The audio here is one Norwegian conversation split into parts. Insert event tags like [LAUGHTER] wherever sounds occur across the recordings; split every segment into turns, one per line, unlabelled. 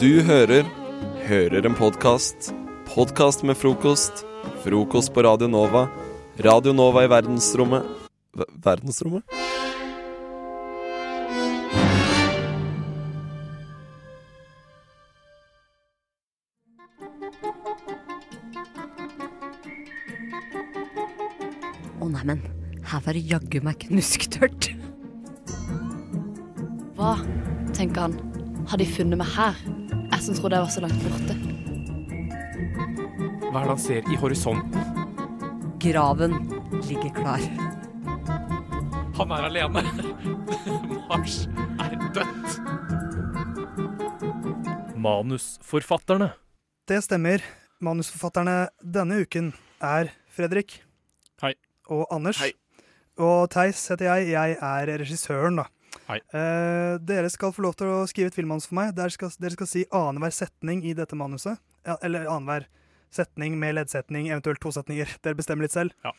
Du hører Hører en podkast. Podkast med frokost. Frokost på Radio Nova. Radio Nova i verdensrommet Ver- Verdensrommet?
Å nei, men her var det jaggu meg knusktørt.
Hva, tenker han, har de funnet meg her? Jeg som trodde jeg var så langt borte.
Hva er det han ser i horisonten?
Graven ligger klar.
Han er alene. [LAUGHS] Mars er dødt.
Manusforfatterne.
Det stemmer. Manusforfatterne denne uken er Fredrik.
Hei.
Og Anders.
Hei.
Og Theis heter jeg. Jeg er regissøren, da.
Hei.
Eh, dere skal få lov til å skrive et filmmanus for meg. Dere skal, dere skal si annenhver setning i dette manuset. Ja, eller annenhver setning med leddsetning, eventuelt to setninger. Dere bestemmer litt selv.
Ja.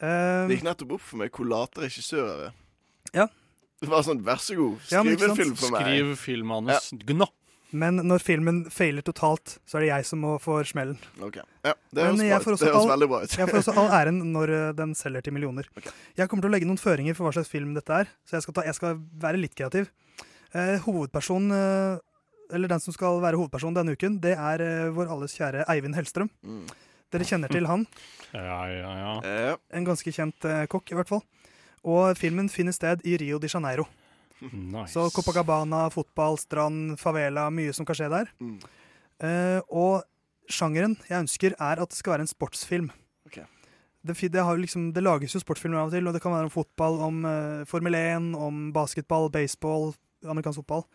Eh,
Det gikk nettopp opp for meg hvor late regissører er.
Ja.
Det var sånn, vær så god,
Ja, men
skriv
ikke
en
sant?
film for meg.
Skriv filmmanus. Gna!
men når filmen feiler totalt, så er det jeg som må få smellen.
Ok. Ja, det
Men
høres,
jeg
bra.
får
ut.
også
Det høres
all-
veldig bra ut.
[LAUGHS] Jeg får også all æren når eh, den selger til millioner. Jeg kommer til å legge noen føringer for hva slags film dette er, så jeg skal, ta, jeg skal være litt kreativ. Eh, hovedpersonen, eh, eller den som skal være hovedperson denne uken, det er eh, vår alles kjære Eivind Hellstrøm.
Mm.
Dere kjenner til han,
[LAUGHS] Ja, ja, ja.
Eh,
en ganske kjent eh, kokk i hvert fall. Og filmen finner sted i Rio de Janeiro.
Nice.
Så Copacabana, fotball, strand, favela, mye som kan skje der.
Mm.
Eh, og sjangeren jeg ønsker, er at det skal være en sportsfilm.
Ok.
Det, fi- det, har jo liksom, det lages jo sportsfilmer av og til, og det kan være om fotball, om eh, Formel 1, om basketball, baseball, amerikansk fotball.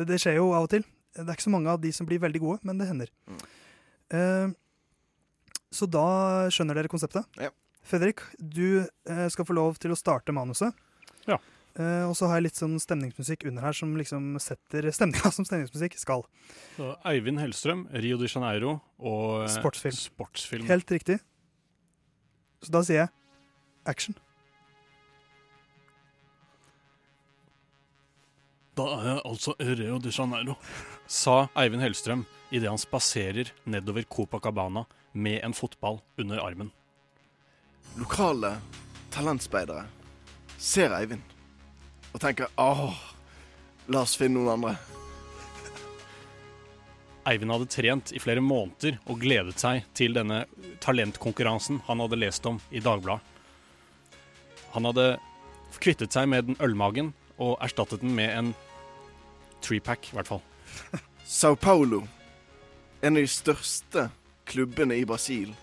Det, det skjer jo av og til. Det er ikke så mange av de som blir veldig gode, men det hender. Eh, så da skjønner dere konseptet.
Ja.
Fredrik, du eh, skal få lov til å starte manuset.
Ja.
Eh, og så har jeg litt sånn stemningsmusikk under her som liksom setter stemninga [LAUGHS] som stemningsmusikk skal.
Så Eivind Hellstrøm, Rio de Janeiro og eh,
Sportsfilm.
sportsfilm.
Helt riktig. Så da sier jeg action.
Da er jeg altså i Rio de Janeiro, sa Eivind Hellstrøm idet han spaserer nedover Copacabana med en fotball under armen.
lokale talentspeidere ser Eivind og tenker åh, la oss finne noen andre.
Eivind hadde trent i flere måneder og gledet seg til denne talentkonkurransen han hadde lest om i Dagbladet. Han hadde kvittet seg med den ølmagen og erstattet den med en trepack, i hvert fall.
Sao Paulo, en av de største klubbene i Brasil,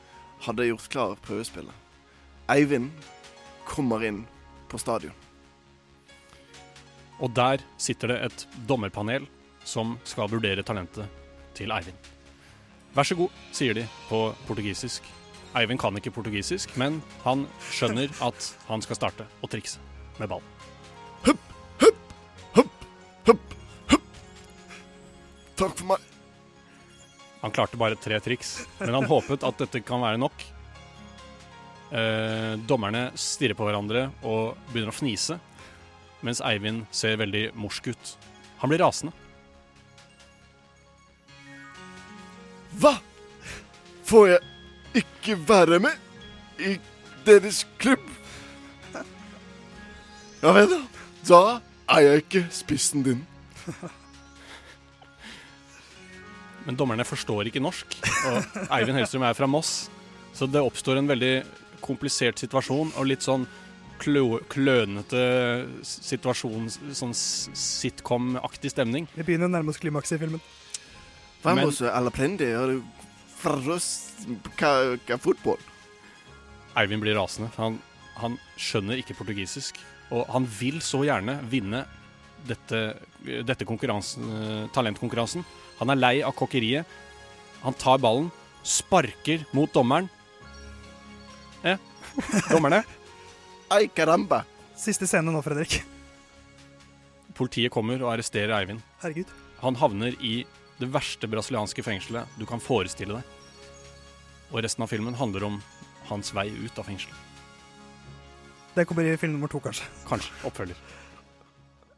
hadde gjort klar prøvespillet. Eivind kommer inn på stadion.
Og der sitter det et dommerpanel som skal vurdere talentet til Eivind. Vær så god, sier de på portugisisk. Eivind kan ikke portugisisk, men han skjønner at han skal starte å trikse med ball.
Takk for meg.
Han klarte bare tre triks, men han håpet at dette kan være nok. Eh, dommerne stirrer på hverandre og begynner å fnise, mens Eivind ser veldig morsk ut. Han blir rasende.
Hva? Får jeg ikke være med i deres klubb? Ja vel, da. Da er jeg ikke spissen din.
Men dommerne forstår ikke norsk, og Eivind Hellstrøm er fra Moss. Så det oppstår en veldig komplisert situasjon, og litt sånn klø klønete situasjon, sånn s- sitcom-aktig stemning.
Vi begynner nærmest klimakset i filmen.
Men-
Vamos a la prende og farros ca- ca- fotball.
Eivind blir rasende, for han, han skjønner ikke portugisisk. Og han vil så gjerne vinne dette, dette konkurransen- eh, talentkonkurransen. Han er lei av kokkeriet. Han tar ballen, sparker mot dommeren. Eh, dommerne.
Ay caramba.
Siste scene nå, Fredrik.
Politiet kommer og arresterer Eivind.
Herregud.
Han havner i det verste brasilianske fengselet du kan forestille deg. Og resten av filmen handler om hans vei ut av fengselet.
Det kommer i film nummer to, kanskje.
Kanskje oppfølger.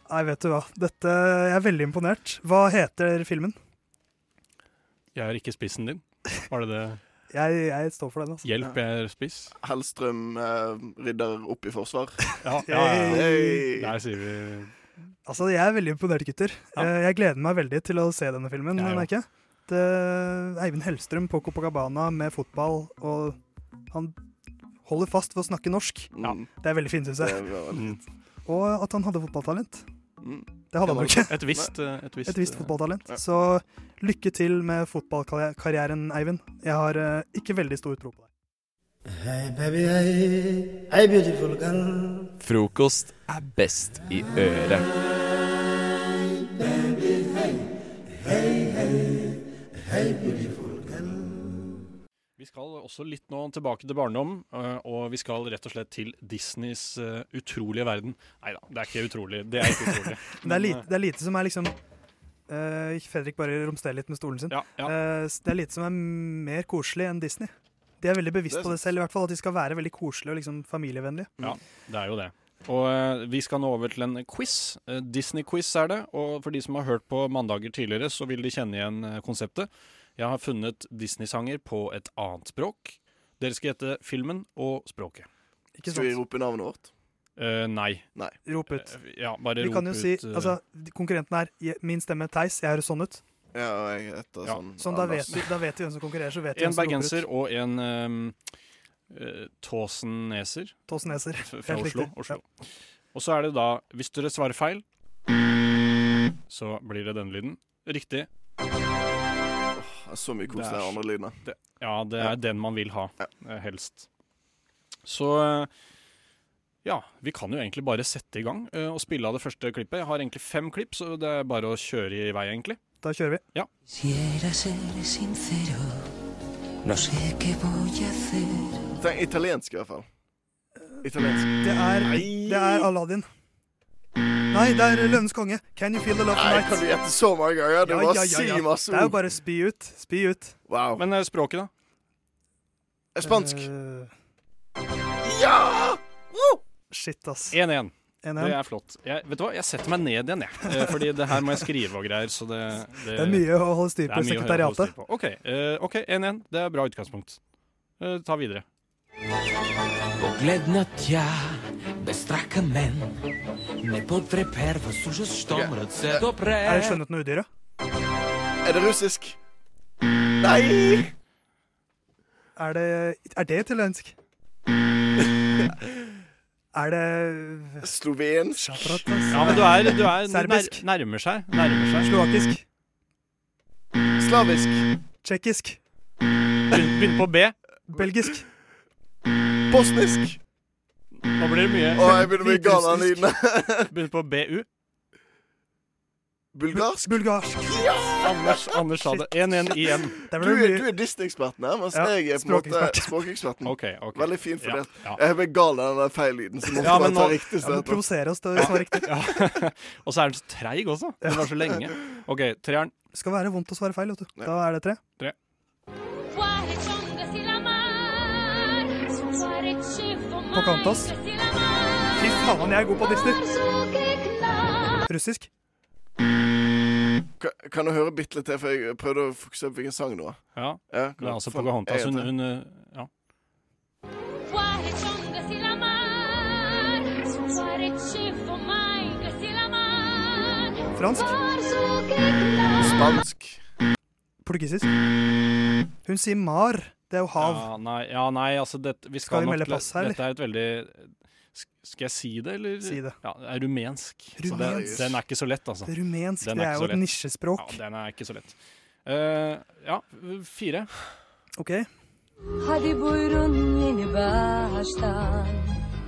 Nei, vet du hva. Dette, Jeg er veldig imponert. Hva heter filmen?
Jeg er ikke spissen din. Var det det?
Jeg, jeg står for den, altså.
Hjelp, jeg er spiss.
Hellstrøm eh, rydder opp i forsvar.
Ja, ja, ja.
Hey.
Der sier vi
Altså, Jeg er veldig imponert, gutter.
Ja.
Eh, Jeg gleder meg veldig til å se denne filmen.
Jeg
merker jeg. Det Eivind Hellstrøm på Copacabana med fotball, og han holder fast ved å snakke norsk.
Mm,
Ja.
Det er veldig fint, syns
det
jeg.
var veldig-
mm,
Og at han hadde fotballtalent.
mm.
Det hadde han jo ikke.
et visst eh, Et visst,
Et visst
eh,
fotballtalent.
Ja.
Så lykke til med fotballkarrieren, Eivind. Jeg har eh, ikke veldig stor tro på deg.
Hey baby, hey, hey beautiful girl.
Frokost er best i øret.
Vi skal også litt nå tilbake til barndom, eh, og vi skal rett og slett til Disneys eh, utrolige verden. Nei da, det er ikke utrolig. Det er ikke utrolig.
Men [LAUGHS] det er lite, det er lite som er liksom eh, Fredrik bare romsterer litt med stolen sin.
Ja, ja.
Eh, s- Det er lite som er mer koselig enn Disney. De er veldig bevisst
Det er
på det selv, i hvert fall at de skal være veldig koselige og liksom familievennlige.
Det er jo det. Og eh, vi skal nå over til en quiz. Eh, Disney-quiz er det. Og for de som har hørt på mandager tidligere, så vil de kjenne igjen eh, konseptet. Jeg har funnet Disney-sanger på et annet språk. Dere skal gjette filmen og språket.
Ikke
Skal vi
sant?
rope navnet vårt?
Eh, nei.
Rop ut.
Eh, Ja, bare
Vi
rop
kan jo si,
ut eh,
altså, Konkurrenten er je- min stemme, Theis. Jeg høres sånn ut.
Ja, jeg heter
Ja,
sånn.
Sånn, da, vet
Anders.
vi, da vet vi hvem som konkurrerer. så vet vi hvem
En
som roper ut.
bergenser og en eh, eh, tåseneser.
Tåsen Neser.
F- fra
Helt
Oslo.
riktig.
Oslo. Og så er det da, hvis dere svarer feil, så blir det denne lyden. Riktig.
Åh, det er Ah, Så mye
Det er
koseligere
så-
andre lydene.
Ja, det er
Ja.
den man vil ha,
Ja.
eh, helst. Så eh, ja, vi kan jo egentlig bare sette i gang eh, og spille av det første klippet. Jeg har egentlig fem klipp, så det er bare å kjøre i vei, egentlig.
Da kjører vi.
Quisiera ser sincero, no sé qué voy a hacer.
Tenk italiensk, i hvert fall. Italiensk.
Det er, det er Aladdin. Nei, det er Lønnes konge. Can you feel the love
Nei, kan
tonight?
du gjette så mange ganger? Du
Ja,
bare
ja, ja, ja.
si masse
Det er jo
ord.
bare spy ut. Spy ut.
Wow.
Men eh, språket, da?
Spansk.
Eh,
Ja! Woo!
shit, ass.
1-1.
En,
Det
en.
er flott. Jeg, vet du hva, jeg setter meg ned igjen, jeg.
[LAUGHS]
Eh, Fordi det her må jeg skrive og greier, så det
Det er mye å holde styr
Det
på i
er mye å høre på
sekretariatet.
og styr på. OK, eh, ok, 1-1. Det er bra utgangspunkt. Eh, ta videre.
Погледна тя, без страх към мен. Не подтреперва с ужас, щом
Окей.
ръце допре.
Er det Skjønnheten og udyret?
Er det russisk? Nei!
Er det, er det italiensk?
[LAUGHS]
er det
Slovensk?
Chatratas?
Ja, men du er, du er
Serbisk.
nær, Nærmer seg. Nærmer seg.
Slovakisk?
Slavisk?
Tsjekkisk?
Begynn begynn på B.
Belgisk?
Bosnisk?
Nå blir det
Å,
mye.
jeg begynner med Ghana-lydene.
Begynn på BU.
Bulgarsk?
Bulgarsk?
Anders, Anders sa det. 1-1 igjen.
Det
Du
ble
er, du
mye
er Disney-eksperten her, mens
Ja,
jeg er på en
språkekspert.
måte språkeksperten.
[LAUGHS] OK. ok
Veldig fint fordelt.
Ja, ja.
Jeg ble gal av den der feil-lyden, så måtte
Ja,
bare
men
ta
nå-
riktig
ja, men
sted.
Provosere oss til å svare riktig.
Ja. [LAUGHS] Og så er den så treig også. Den var så lenge. OK, treeren.
Det skal være vondt å svare feil. vet du. Da er det tre. På Kantas. Fy faen, jeg er god på Disney! Russisk?
Ka- Kan du høre bitte litt til, for jeg prøvde å fokusere på hvilken sang det var.
Ja.
Ja,
Det er altså på
for-
Gahantas.
jeg
Hun,
heter-
hun eh, ja.
Fransk?
Spansk.
Portugisisk? Hun sier mar. Det er jo hav.
Ja, nei, ja, nei altså det, vi skal,
Skal vi
nok
melde
la-
pass her, eller?
Dette er et veldig sk- Skal jeg si det, eller?
Si det.
Ja, det er rumensk. Så det-
Rumensk.
Den er ikke så lett, altså.
Rumensk.
Den er
Det
ikke
er
så
jo et
lett. Ja,
nisjespråk.
den er ikke så lett. Eh, ja, fire.
OK.
Hadi buyurun yeni baştan.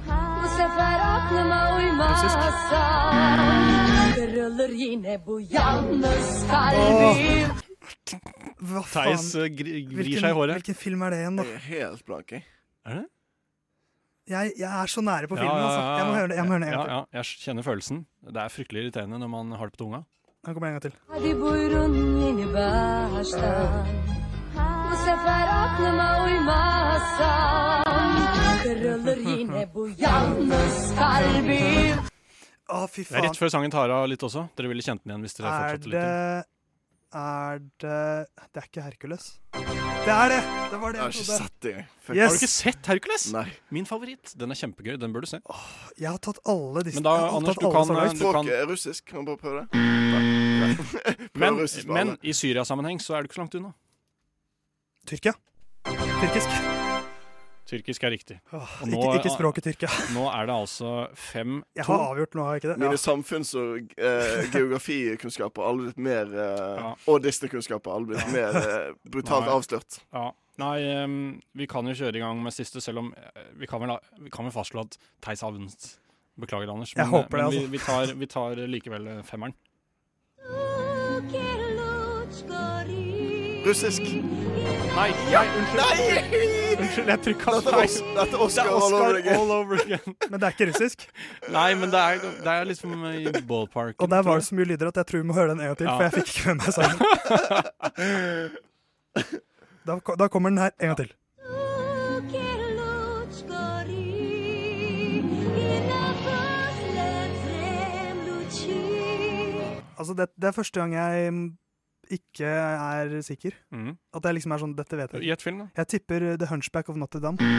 Bu sefer aklıma uymazsan kırılır yine bu yalnız kalbim.
Hva faen?
Theis eh, gri, vrir seg i
Hvilken,
håret.
hvilken film er det igjen, da?
Jeg er helt blank, jeg.
Er det?
Jeg, jeg er så nære på filmen, altså. Jeg må høre det jeg må høre det en
ja,
gang til.
ja, jeg kjenner følelsen. Det er fryktelig irriterende når man har det på tunga.
Her kommer det en gang til.
Hadi buyurun yeni baştan. Bu sefer aklıma uymazsan kırılır yine bu yalnız kalbim.
Å, fy
Det er
faen.
rett før sangen tar av litt også. Dere ville kjent den igjen hvis dere har
Er
fortsatt litt.
det er det Det er ikke Hercules. Det er det! Det var det
Jeg har ikke sett det, jeg. Fuck.
Har du ikke
Yes.
sett Hercules?
Nei.
Min favoritt. Den er kjempegøy. Den bør du se.
Jeg har tatt alle disse.
Men da,
jeg har tatt
Anders, du
alle
kan, eh,
så langt.
Du kan-
Språket er russisk. Kan du bare prøve det? Nei. [LAUGHS] Prøv
Men,
russisk bare.
men i Syria-sammenheng så er du ikke så langt unna.
Tyrkia. Tyrkisk.
Tyrkisk er riktig.
Åh,
Og nå
ikke,
er-
ikke språket Tyrkia.
Nå er det altså fem
Jeg har avgjort nå, har jeg ikke det?
Mine samfunns- og eh, geografikunnskaper har aldri blitt mer eh,
Ja.
Og Disney-kunnskaper har aldri
[LAUGHS]
blitt mer eh, brutalt
Nei.
avslørt.
Ja. Nei, ehm, vi kan jo kjøre i gang med siste, selv om eh, vi kan vel, ha- vi kan vel fastslå at Theis har vunnet. Beklager, Anders.
Jeg håper det,
men vi, vi, tar,
altså.
vi tar likevel eh, femmeren.
Russisk.
Nei! Unnskyld, jeg trykka
Dette er,
feil.
Os dette er
Det er
Oscar, all over
Oscar
again.
all over again.
Ja. [LAUGHS] Men det er ikke russisk.
Nei, men det er, det er liksom i ballparken.
Og der
tror
var
jeg.
det så mye lyder at jeg tror vi må høre den en gang til,
Ja.
for jeg fikk ikke med meg sangen.
[LAUGHS]
Da, ko- da kommer den her en gang til. Altså, det, det er første gang jeg mm, ikke er sikker.
Mhm.
At jeg liksom er sånn Dette vet jeg.
Gjett film, da.
Jeg tipper uh, The Hunchback of Notre Dame.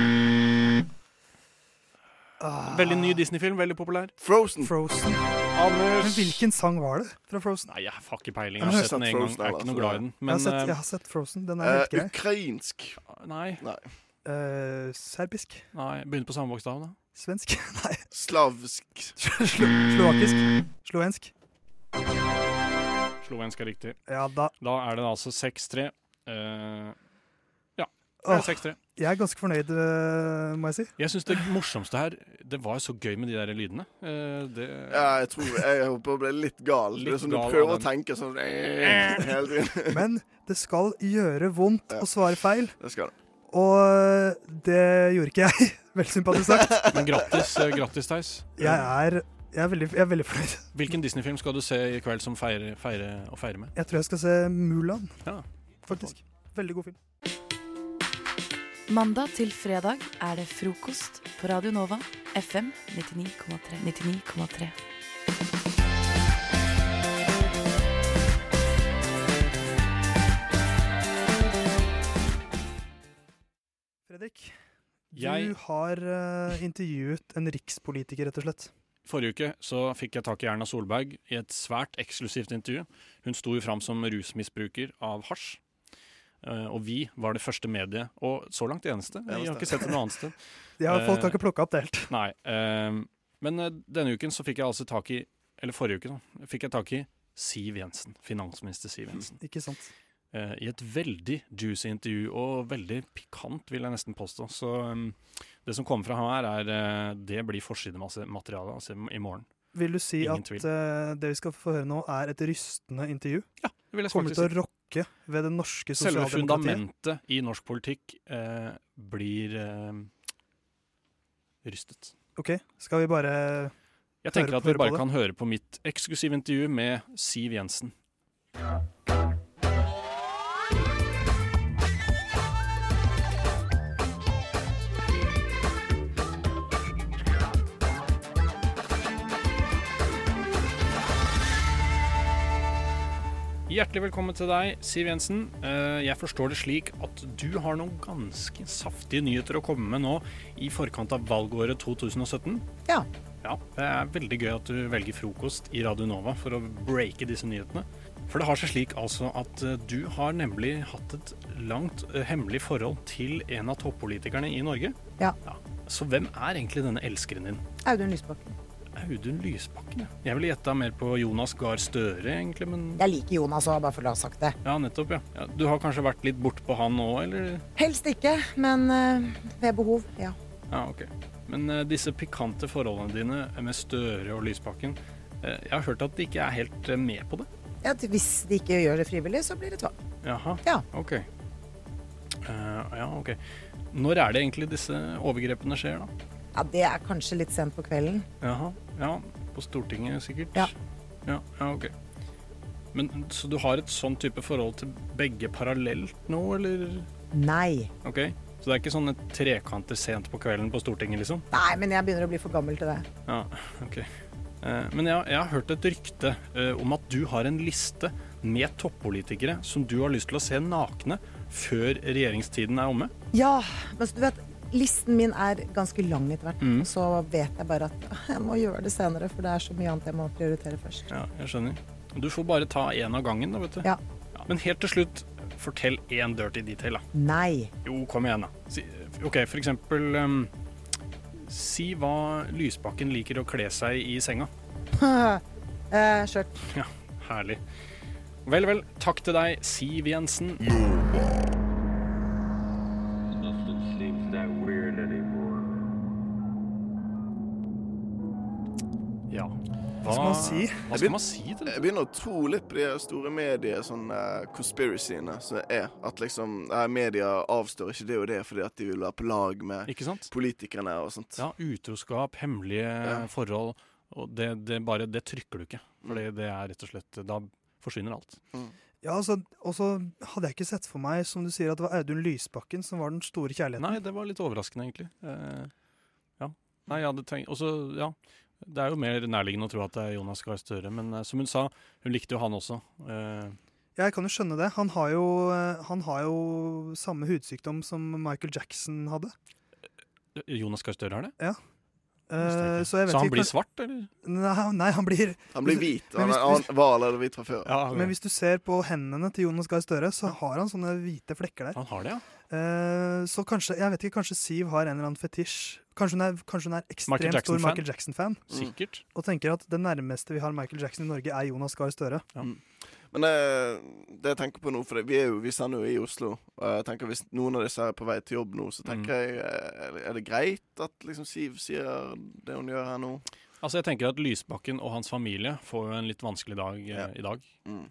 Ah,
Veldig ny Disney-film, veldig populær.
Frozen.
Frozen. Men
Anders!
hvilken sang var det fra Frozen?
Nei, jeg har ikke peiling. Jeg
Jeg har
har sett
sett
den en gang.
Frozen,
Jeg er ikke
altså.
noe glad i den.
jeg, har
Men
sett, jeg
eh,
har sett Frozen. Den er
Eh,
helt grei.
ukrainsk.
nei,
Eh, serbisk?
nei. Begynner på samme bokstav, da.
Svensk? [LAUGHS] Nei.
Slavsk.
Slovakisk? Slovensk?
Slovensk er riktig.
Ja da.
Da er det altså 6-3. Eh, ja. det er
Åh.
6-3.
Jeg er ganske fornøyd, eh, må jeg si.
Jeg syns det morsomste her Det var jo så gøy med de der lydene. Eh, det,
Ja, jeg tror jeg håper jeg ble litt gal. det
Litt
er sånn du
gal
prøver
av
å tenke sånn eh, hele tiden.
[LAUGHS] Men det skal gjøre vondt å svare feil,
Det skal du.
og eh, det gjorde ikke jeg. [LAUGHS] Vel sympatisk sagt.
[LAUGHS] Men grattis, eh, grattis Theis.
Jeg er, jeg er, veldig, jeg er veldig fornøyd.
Hvilken Disney-film skal du se i kveld som feire, feire, å feire med?
Jeg tror jeg skal se Mulan,
Ja.
faktisk. Veldig god film.
Mandag til fredag er det frokost på Radio Nova. FM 99,3. 99,3.
Fredrik, du
Jeg,
har eh, intervjuet en rikspolitiker, rett og slett.
forrige uke så fikk jeg tak i Erna Solberg i et svært eksklusivt intervju. Hun sto jo fram som rusmisbruker av hasj. Eh, og vi var det første mediet, og så langt det eneste. Vi har
Eneste.
ikke sett det noe annet sted.
[LAUGHS] Ja, folk har
Eh,
ikke plukka opp det helt.
Nei. ehm, men eh, denne uken så fikk jeg altså tak i Eller forrige uke, da. Fikk jeg tak i Siv Jensen. Finansminister Siv Jensen.
[LAUGHS] Ikke sant.
Eh, I et veldig juicy intervju, og veldig pikant, vil jeg nesten påstå. Så ehm, det som kommer fra han her, er eh, Det blir forsidemateriale altså, i morgen.
Vil du si
Ingen
at
tvil.
eh, det vi skal få høre nå, er et rystende intervju?
Ja, det vil jeg
Kommer
faktisk
til å
si.
rokke ved det norske
Selve
sosialdemokratiet?
fundamentet i norsk politikk eh, blir eh, rystet.
Ok, skal vi bare
Jeg tenker
Høre-
at vi
høre på
bare
det.
kan høre på mitt eksklusive intervju med Siv Jensen. Hjertelig velkommen til deg, Siv Jensen. Eh, Jeg forstår det slik at du har noen ganske saftige nyheter å komme med nå i forkant av valgåret 2017.
Ja.
Ja, Det er veldig gøy at du velger frokost i Radio Nova for å breake disse nyhetene. For det har seg slik altså at eh, du har nemlig hatt et langt eh, hemmelig forhold til en av toppolitikerne i Norge.
Ja.
Så hvem er egentlig denne elskeren din?
Audun Lysbakken.
Audun Lysbakken, ja. Jeg ville gjetta mer på Jonas Gahr Støre, egentlig, men
Jeg liker Jonas òg, bare for å ha sagt det.
Ja, nettopp, ja. ja. Du har kanskje vært litt bortpå han nå, eller?
Helst ikke, men eh, ved behov, ja.
Ja, ok. Men eh, disse pikante forholdene dine med Støre og Lysbakken, eh, jeg har hørt at de ikke er helt eh, med på det.
ja. at Hvis de ikke gjør det frivillig, så blir det tvang.
Jaha,
Ja.
ok. Eh, ja, ok. Når er det egentlig disse overgrepene skjer, da?
Ja, Det er kanskje litt sent på kvelden.
Jaha, ja. På Stortinget, sikkert?
Ja.
Ja, ja ok. Men, så du har et sånn type forhold til begge parallelt nå, eller?
Nei.
Ok, så det er ikke sånn sånne trekanter sent på kvelden på Stortinget, liksom?
Nei, men jeg begynner å bli for gammel til det.
Ja, ok. Eh, Eh, Men jeg, jeg har hørt et rykte eh, om at du har en liste med toppolitikere som du har lyst til å se nakne før regjeringstiden er omme.
Ja, men så du vet, listen min er ganske lang etter hvert.
Mm.
og Så vet jeg bare at jeg må gjøre det senere, for det er så mye annet jeg må prioritere først.
Ja, jeg skjønner. Du får bare ta én av gangen, da, vet du.
Ja.
Ja, Men helt til slutt, fortell én dirty detail, da.
Nei. [LAUGHS]
Jo, kom igjen, da. Si, OK, for eksempel ehm, Si hva Lysbakken liker å kle seg i senga.
eh, skjørt.
Ja, herlig. Vel, vel. Takk til deg, Siv Jensen. Ja.
Hva skal man si?
Hva skal man si til det?
Jeg begynner å tro litt på de store medier, sånn eh, conspiracyene som er. At liksom eh, media avstår ikke det og det fordi at de vil være på lag med politikerne og sånt.
Ja, utroskap, hemmelige forhold. Og det, det, bare, det trykker du ikke. For det, det er rett og slett Da forsvinner alt.
Ja, altså, Og så hadde jeg ikke sett for meg som du sier, at det var Audun Lysbakken som var den store kjærligheten.
Nei, det var litt overraskende, egentlig. Eh, ja. Nei, jeg hadde tenkt Og så, ja. Det er jo mer nærliggende å tro at det er Jonas Gahr Støre, men eh, som hun sa, hun likte jo han også. Eh,
Jeg kan jo skjønne det. Han har jo, eh, han har jo samme hudsykdom som Michael Jackson hadde.
Jonas Gahr Støre er det?
Ja.
Visste
Eh,
jeg ikke.
så jeg vet
Så han
ikke-
blir svart, eller?
Nei, nei han blir
Han blir hvit.
Men
Han,
hvis-
er- han var allerede hvit fra før.
Ja,
Men hvis du ser på hendene til Jonas Gahr Støre, så har han sånne hvite flekker der.
Han har det, ja.
Eh, så kanskje jeg vet ikke, kanskje Siv har en eller annen fetisj. Kanskje hun er, kanskje hun er ekstremt
Michael
stor
Jackson-fan. Mm.
Michael Jackson-fan.
Sikkert.
Og tenker at det nærmeste vi har Michael Jackson i Norge, er Jonas Gahr Støre.
Mm. Men eh, det jeg tenker på nå, for det, vi, er jo, vi sender jo i Oslo, og jeg tenker hvis noen av disse er på vei til jobb nå, så
Mm.
tenker jeg eh, er det- Er det greit at liksom Siv sier det hun gjør her nå?
Altså, jeg tenker at Lysbakken og hans familie får jo en litt vanskelig dag eh, i dag.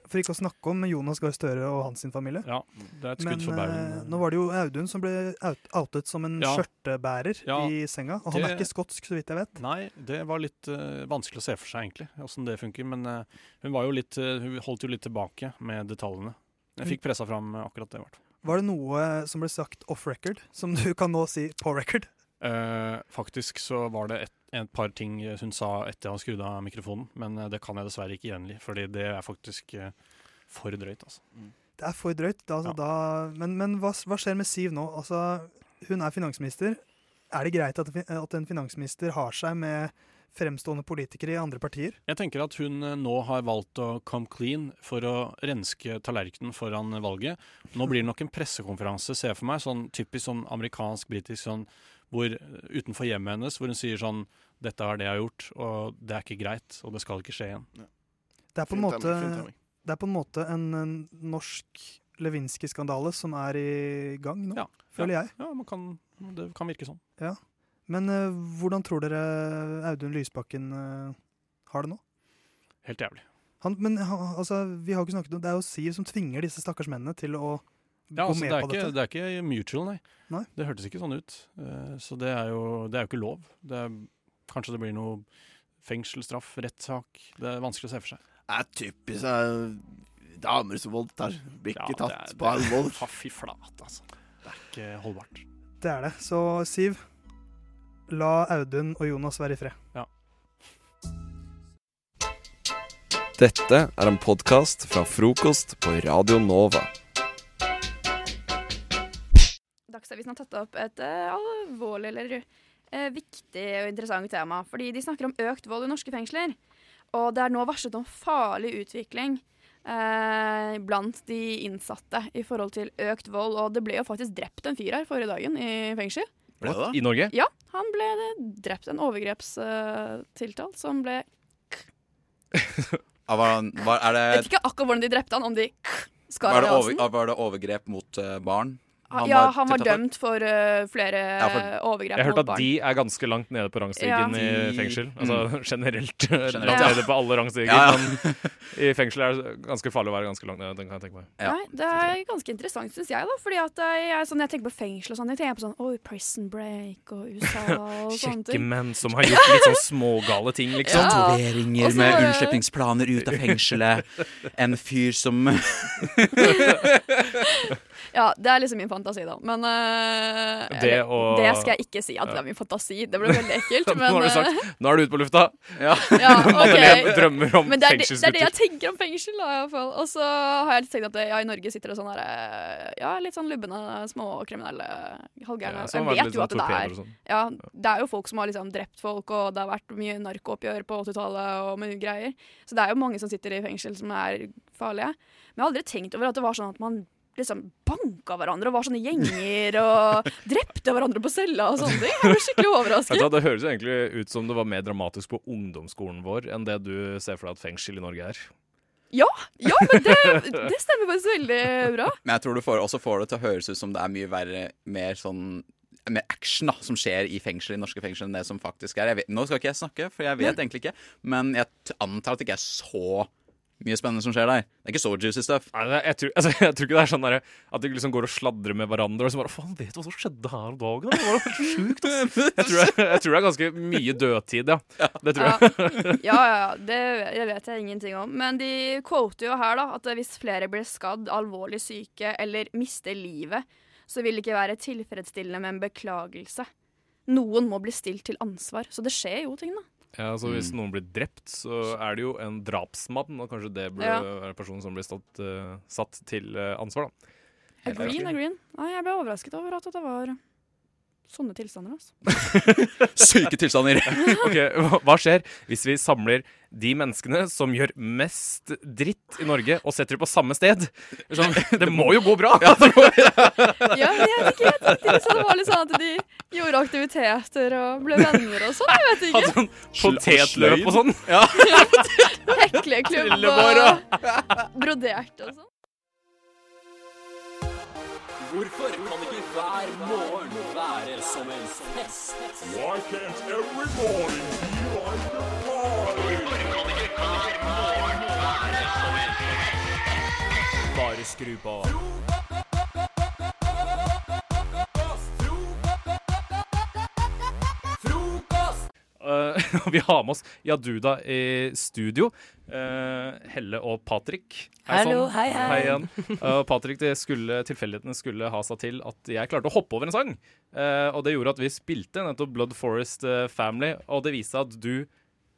For ikke å snakke om Jonas Gahr Støre og hans sin familie.
Ja, det er et skudd
Men
for
eh,
baugen.
nå var det jo Audun som ble out outet som en
Ja.
skjørtebærer
Ja,
i senga. Og han er
det-
ikke skotsk, så vidt jeg vet.
Nei, det var litt eh, vanskelig å se for seg egentlig, åssen det funker. Men eh, hun, var jo litt, eh, hun holdt jo litt tilbake med detaljene. Jeg fikk pressa fram eh, akkurat det. i hvert fall.
Var det noe som ble sagt off record, som du kan nå si på record?
Eh, faktisk så var det et, et par ting eh, hun sa etter jeg hadde skrudd av mikrofonen, men eh, det kan jeg dessverre ikke gjengi, fordi det er faktisk eh, for drøyt, altså.
Det er for drøyt. Da, altså, da, men men hva, hva skjer med Siv nå? Altså, hun er finansminister. Er det greit at, at en finansminister har seg med fremstående politikere i andre partier?
Jeg tenker at hun eh, nå har valgt å come clean for å renske tallerkenen foran valget. Nå blir det nok en pressekonferanse, ser jeg for meg, sånn typisk sånn amerikansk-britisk, sånn hvor eh, utenfor hjemmet hennes, hvor hun sier sånn dette er det jeg har gjort, og det er ikke greit, og det skal ikke skje igjen.
Det er
Fin
på en
timing,
måte,
fin timing.
det er på en, måte en, en norsk Lewinsky-skandale som er i gang nå, føler jeg.
Ja, man kan, det kan virke sånn.
Ja. Men eh, hvordan tror dere Audun Lysbakken eh, har det nå?
Helt jævlig.
Han, men ha- altså, vi har jo ikke snakket om Det er jo Siv som tvinger disse stakkars mennene til å
Ja,
gå
altså, det,
med
er
på
ikke,
dette.
det er ikke mutual, nei.
Nei.
Det hørtes ikke sånn ut. Eh, Så det er jo, det er jo ikke lov. Det er, kanskje det blir noe fengselsstraff, rettssak. Det er vanskelig å se for seg.
Det er typisk eh, damer som voldtar. Blir ikke
Ja, det
tatt
er-
på alvor.
Ja, fy flate, altså. Det er ikke holdbart.
Det er det. Så Siv, la Audun og Jonas være i fred.
Dette er en podkast fra frokost på Radio Nova.
Dagsavisen har tatt opp et eh, alvorlig eller eh, viktig og interessant tema. Fordi de snakker om økt vold i norske fengsler. Og det er nå varslet om farlig utvikling eh, blant de innsatte i forhold til økt vold. Og det ble jo faktisk drept en fyr her forrige dagen i fengsel.
Ble det det? I Norge?
Ja, han ble det- drept. En overgrepstiltalt som ble
Ja, Var, han- var,
Jeg
er
vet
det,
ikke akkurat hvordan de drepte han, om de skar
Eh, var,
han
det
i
over,
halsen.
ja, var det overgrep mot eh, barn?
ja, han var
tiltalt for?
dømt for eh, flere
Ja, for-
overgrep
Jeg
mot
hørte
barn.
at
De er ganske langt nede på rangstigen
Ja.
i fengsel.
De-
Altså [LAUGHS]
mm.
generelt.
[LAUGHS] Generelt.
Langt
Ja.
nede på alle rangstiger.
Ja, ja.
Men i fengsel er det ganske farlig å være ganske langt nede. Den kan jeg tenke meg.
Nei, det er ganske interessant, syns jeg. da Fordi at eh, jeg, sånn, jeg tenker på fengsel og sånn. Jeg tenker på sånn Oi, Prison Break
[LAUGHS]
og USA og sånne
Kjekke
ting.
menn som har gjort litt sånn smågale ting, liksom.
Ja.
Tatoveringer
Og så
med
var det-
[LAUGHS]
unnslippningsplaner ut av fengselet. En fyr som
[LAUGHS] Ja, det er liksom min fantasi, da. Men eh,
Det
eller,
og-
det skal jeg ikke si at det er min fantasi. Det ble veldig ekkelt.
[LAUGHS] nå
Men,
har du
eh,
sagt Nå er du ute på lufta. [LAUGHS]
Ja,
[LAUGHS] Ja, ok.
Madeleine drømmer om
Men det er, det, det er det jeg
fengselsgutter.
tenker om fengsel, da, i hvert fall. Og så har jeg litt tenkt at ja, i Norge sitter det sånn derre Ja, litt sånn lubne småkriminelle halvgærne.
Ja,
Og
sånn var det
jeg vet
litt
jo
sånn
at det
torpedoer
er
og sånn.
Ja, det er jo folk som har liksom drept folk, og det har vært mye narkooppgjør på 80-tallet og mye greier. Så det er jo mange som sitter i fengsel som er farlige. Men jeg har aldri tenkt over at det var sånn at man liksom banka hverandre og var sånne gjenger og [LAUGHS] drepte hverandre på cella og sånne ting. Jeg ble skikkelig
Vet du hva,
overrasket.
Det høres jo egentlig ut som det var mer dramatisk på ungdomsskolen vår enn det du ser for deg at fengsel i Norge er.
Ja, ja men det, det stemmer faktisk veldig bra.
[LAUGHS] Men jeg tror du får, også får det til å høres ut som det er mye verre, mer sånn mer action da, som skjer i fengsel, i norske fengsel enn det som faktisk er. Jeg vet, nå skal ikke jeg snakke, for jeg vet egentlig ikke, men jeg t- antar at det ikke er så mye spennende som skjer der. Det er ikke så juicy stuff.
Nei, det- jeg, tror, [LAUGHS] altså, jeg tror ikke det er sånn der, at de liksom går og sladrer med hverandre og så bare Faen, vet du hva som skjedde her om dagen? da? Det var helt sjukt, ass. Jeg tror, det- jeg tror det er ganske mye dødtid, ja. Det tror [LAUGHS] jeg.
Ja, ja, ja, det det vet jeg ingenting om. Men de quoter jo her da, at hvis flere blir skadd, alvorlig syke eller mister livet, så vil det ikke være tilfredsstillende med en beklagelse. Noen må bli stilt til ansvar. Så det skjer jo ting, da.
Ja, altså Hvis noen blir drept, så er det jo en drapsmann, og kanskje det burde
Ja.
være personen som blir stått, eh, satt til eh, ansvar, da. Helt
Agree,
riktig.
agree. Nei, jeg ble overrasket over at det var sånne tilstander.
[LAUGHS]
Altså.
Syke tilstander.
ok, hva- Hva skjer hvis vi samler de menneskene som gjør mest dritt i Norge, og setter dem på samme sted? Sånn, det må jo gå [LAUGHS] bra!
Ja, men jeg vet ikke, jeg tenkte litt sånn, det var litt sånn at de gjorde aktiviteter og ble venner og sånn, jeg vet ikke. [LAUGHS]
Potetløp og sånn.
Hekleklubb
Trillebår og-
og brodert og sånn.
Hvorfor kan ikke hver morgen være som en fest? Why can't every morning be like a
Bare skru på.
Eh, [LAUGHS] og vi har med oss Yaduda i studio. Eh, Helle og Patrick.
Hallo, hei, hei.
igjen. Eh, Patrick, det skulle, tilfeldighetene skulle ha seg til at jeg klarte å hoppe over en sang. Eh, og det gjorde at vi spilte nettopp Blood Forest eh, Family, og det viste seg at du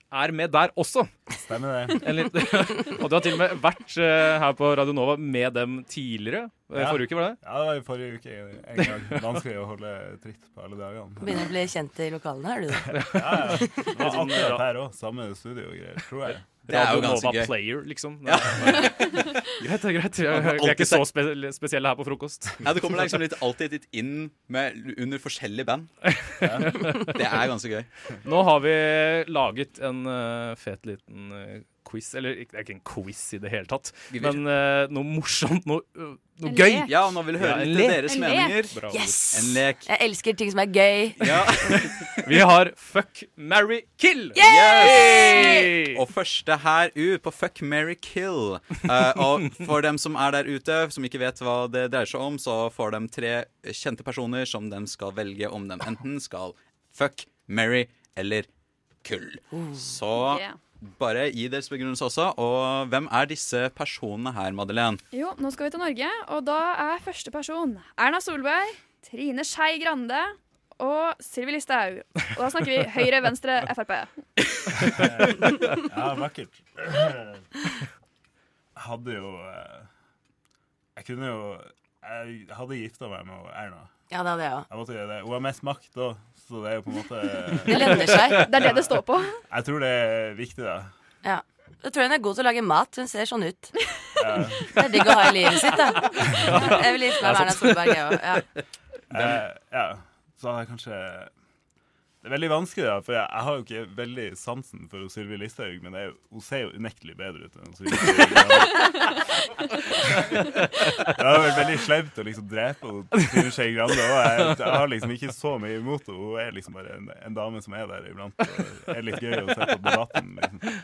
er med der også.
Stemmer det.
En litt- [LAUGHS] og du har til og med vært eh, her på Radio Nova med dem tidligere. Eh,
Ja.
Forrige uke, var det?
Ja, det var i forrige uke en gang. Vanskelig å holde tritt på alle dagene. [LAUGHS]
Begynner å bli kjent i lokalene her, du. da.
Ja, ja. Det var akkurat her òg. Samme studio og greier, tror jeg.
Det er jo Radio ganske Nova gøy. Player, liksom. Ja. [LAUGHS] Greit, det er greit. Vi er- vi er ikke så spe spesielle her på frokost.
Ja, Du kommer deg liksom litt alltid litt inn med, under forskjellige band. Det er ganske gøy.
Nå har vi laget en eh, fet liten eh, quiz. Eller ikke- det er ikke en quiz i det hele tatt,
Gvirr.
men eh, noe morsomt, noe, eh, noe
En
gøy.
lek. Ja, og nå vil vi høre litt
en
deres
lek.
En lek. meninger.
Bra ord.
Yes!
En lek.
Jeg elsker ting som er gøy.
Vi har Fuck, marry, kill!
Yes! Og første her ut på Fuck, marry, kill. Eh, og for dem som er der ute, som ikke vet hva det dreier seg om, så får de tre kjente personer som de skal velge om de enten skal fuck, marry eller kull. Så
Yeah.
bare gi deres begrunnelse også. Og hvem er disse personene her, Madeleine?
Jo, nå skal vi til Norge, og da er første person Erna Solberg, Trine Skei Grande og Sylvi Listhaug. Og da snakker vi Høyre, Venstre, Frp.
Ja, vakkert. Jeg hadde jo eh, Jeg kunne jo Jeg hadde gifta meg med Erna.
Ja, det hadde jeg òg.
Jeg måtte gjøre det. Hun har mest makt da, så det er jo på en måte
Det lønner seg. Det er det det
står på.
Jeg tror det er viktig, da.
Ja. Da tror jeg hun er god til å lage mat. Hun ser sånn ut.
Ja.
Det er digg å ha i livet sitt, da. Jeg vil gifte meg med Erna Solberg, jeg òg. Ja.
Eh, ja. Så hadde jeg kanskje Det er veldig vanskelig, da, for jeg, jeg har jo ikke veldig sansen for Sylvi Listhaug, men det er jo, hun ser jo unektelig bedre ut enn Sylvi Listhaug. Det hadde vært veldig slemt å liksom drepe hun Trine Skei Grande òg. Jeg, jeg har liksom ikke så mye imot henne. Hun er liksom bare en, en dame som er der iblant og er litt gøy å se på debatten. Liksom.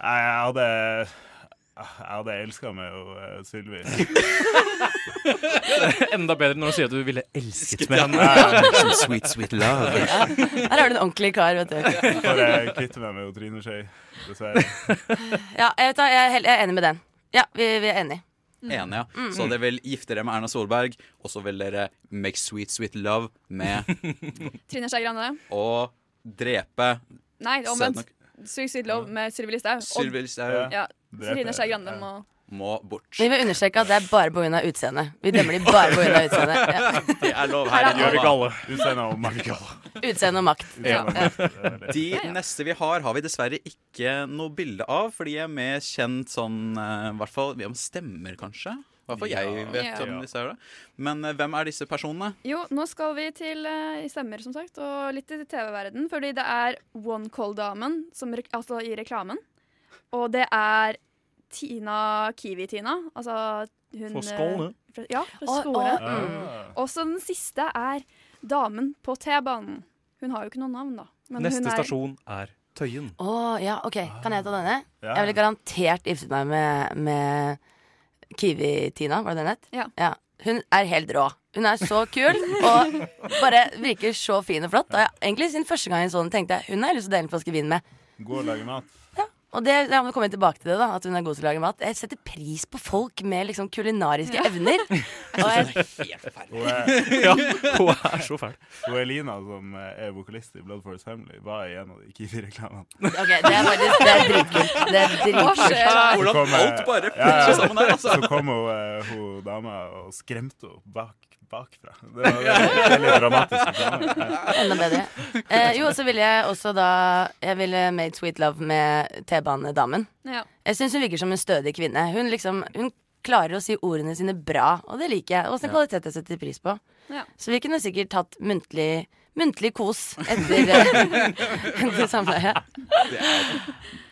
Nei, Jeg hadde jeg hadde elska meg og eh, Sylvi.
Enda bedre når du sier at du ville elsket med
Ja.
henne.
Some sweet, sweet love.
Ja. Her har du en ordentlig kar, vet du.
For jeg kvitter meg med Trine Skei, dessverre.
Ja, jeg, vet, da, jeg, er hel- jeg er enig med den. Ja, vi, vi er enige. Mm.
Enig, ja.
Mm.
Så dere vil gifte dere med Erna Solberg, og så vil dere make sweet, sweet love med
Trine Skei Grande.
å drepe
Nei, det er omvendt.
Søt nok.
Suicide Love med Sylvi Listhaug. Og-
Sylvi Listhaug.
Ja.
Dreper.
Trine Skei Grande må
Må bort.
Mm. Vi vil understreke at det er bare pga. utseendet. Vi dømmer de bare pga.
[LAUGHS]
utseendet. Ja.
Det er lov
Her
her i
er lov.
Nova.
Utseende og Marikalle.
Utseende og makt. [LAUGHS] Ja. Ja.
De neste vi har, har vi dessverre ikke noe bilde av, for de er mer kjent sånn eh, hvert fall om stemmer, kanskje. I hvert fall jeg
Ja.
vet
Ja.
om disse her. da. Men eh, hvem er disse personene?
Jo, nå skal vi til eh, i stemmer, som sagt, og litt til TV-verden. Fordi det er One Call-damen, som rek- altså i reklamen. Og det er Tina Kiwi-Tina. Altså hun
Fra Skåne.
eh, Fra, ja, fra
Å,
Skåne.
å, mm.
Og så den siste er damen på T-banen. Hun har jo ikke noe navn, da. men hun
Neste
er-
stasjon er Tøyen.
Å, ja, OK. Kan jeg ta denne?
Ja.
Jeg ville garantert giftet meg med, med Kiwi-Tina, var det den het?
Ja.
Hun er helt rå. Hun er så kul og bare virker så fin og flott. Og jeg, egentlig siden første gang jeg så den, tenkte jeg hun har jeg lyst til å dele en flaske vin med.
God å lage mat.
Og det, ja, men kommer jeg tilbake til det da At hun er god til å lage mat. Jeg setter pris på folk med liksom kulinariske
Ja. [LAUGHS]
evner. Og jeg,
Hun er,
[LAUGHS]
Ja, hun er så fæl.
Hun Elina, som eh, er vokalist i Blood Forest Family, var i en av de Kiwi-reklamene.
Ok, det er faktisk- det er dritkult. Det er dritkult. Hva skjer her?
Så kom, eh,
Hvordan alt bare flyter sammen her, altså.
Så kom hun, eh, hun dama og skremte henne bak, bakfra. Det var en veldig dramatisk reklame. Ja.
[LAUGHS] Enda
[LAUGHS]
bedre. Eh, jo, så ville jeg også da Jeg ville made sweet love med T-banedamen.
Ja.
Jeg syns hun virker som en stødig kvinne. Hun liksom Hun klarer å si ordene sine bra, og det liker jeg. Og også en
Ja.
kvalitet jeg setter pris på.
Ja.
Så vi kunne sikkert tatt muntlig Muntlig kos etter, eh, [LAUGHS] etter samleie.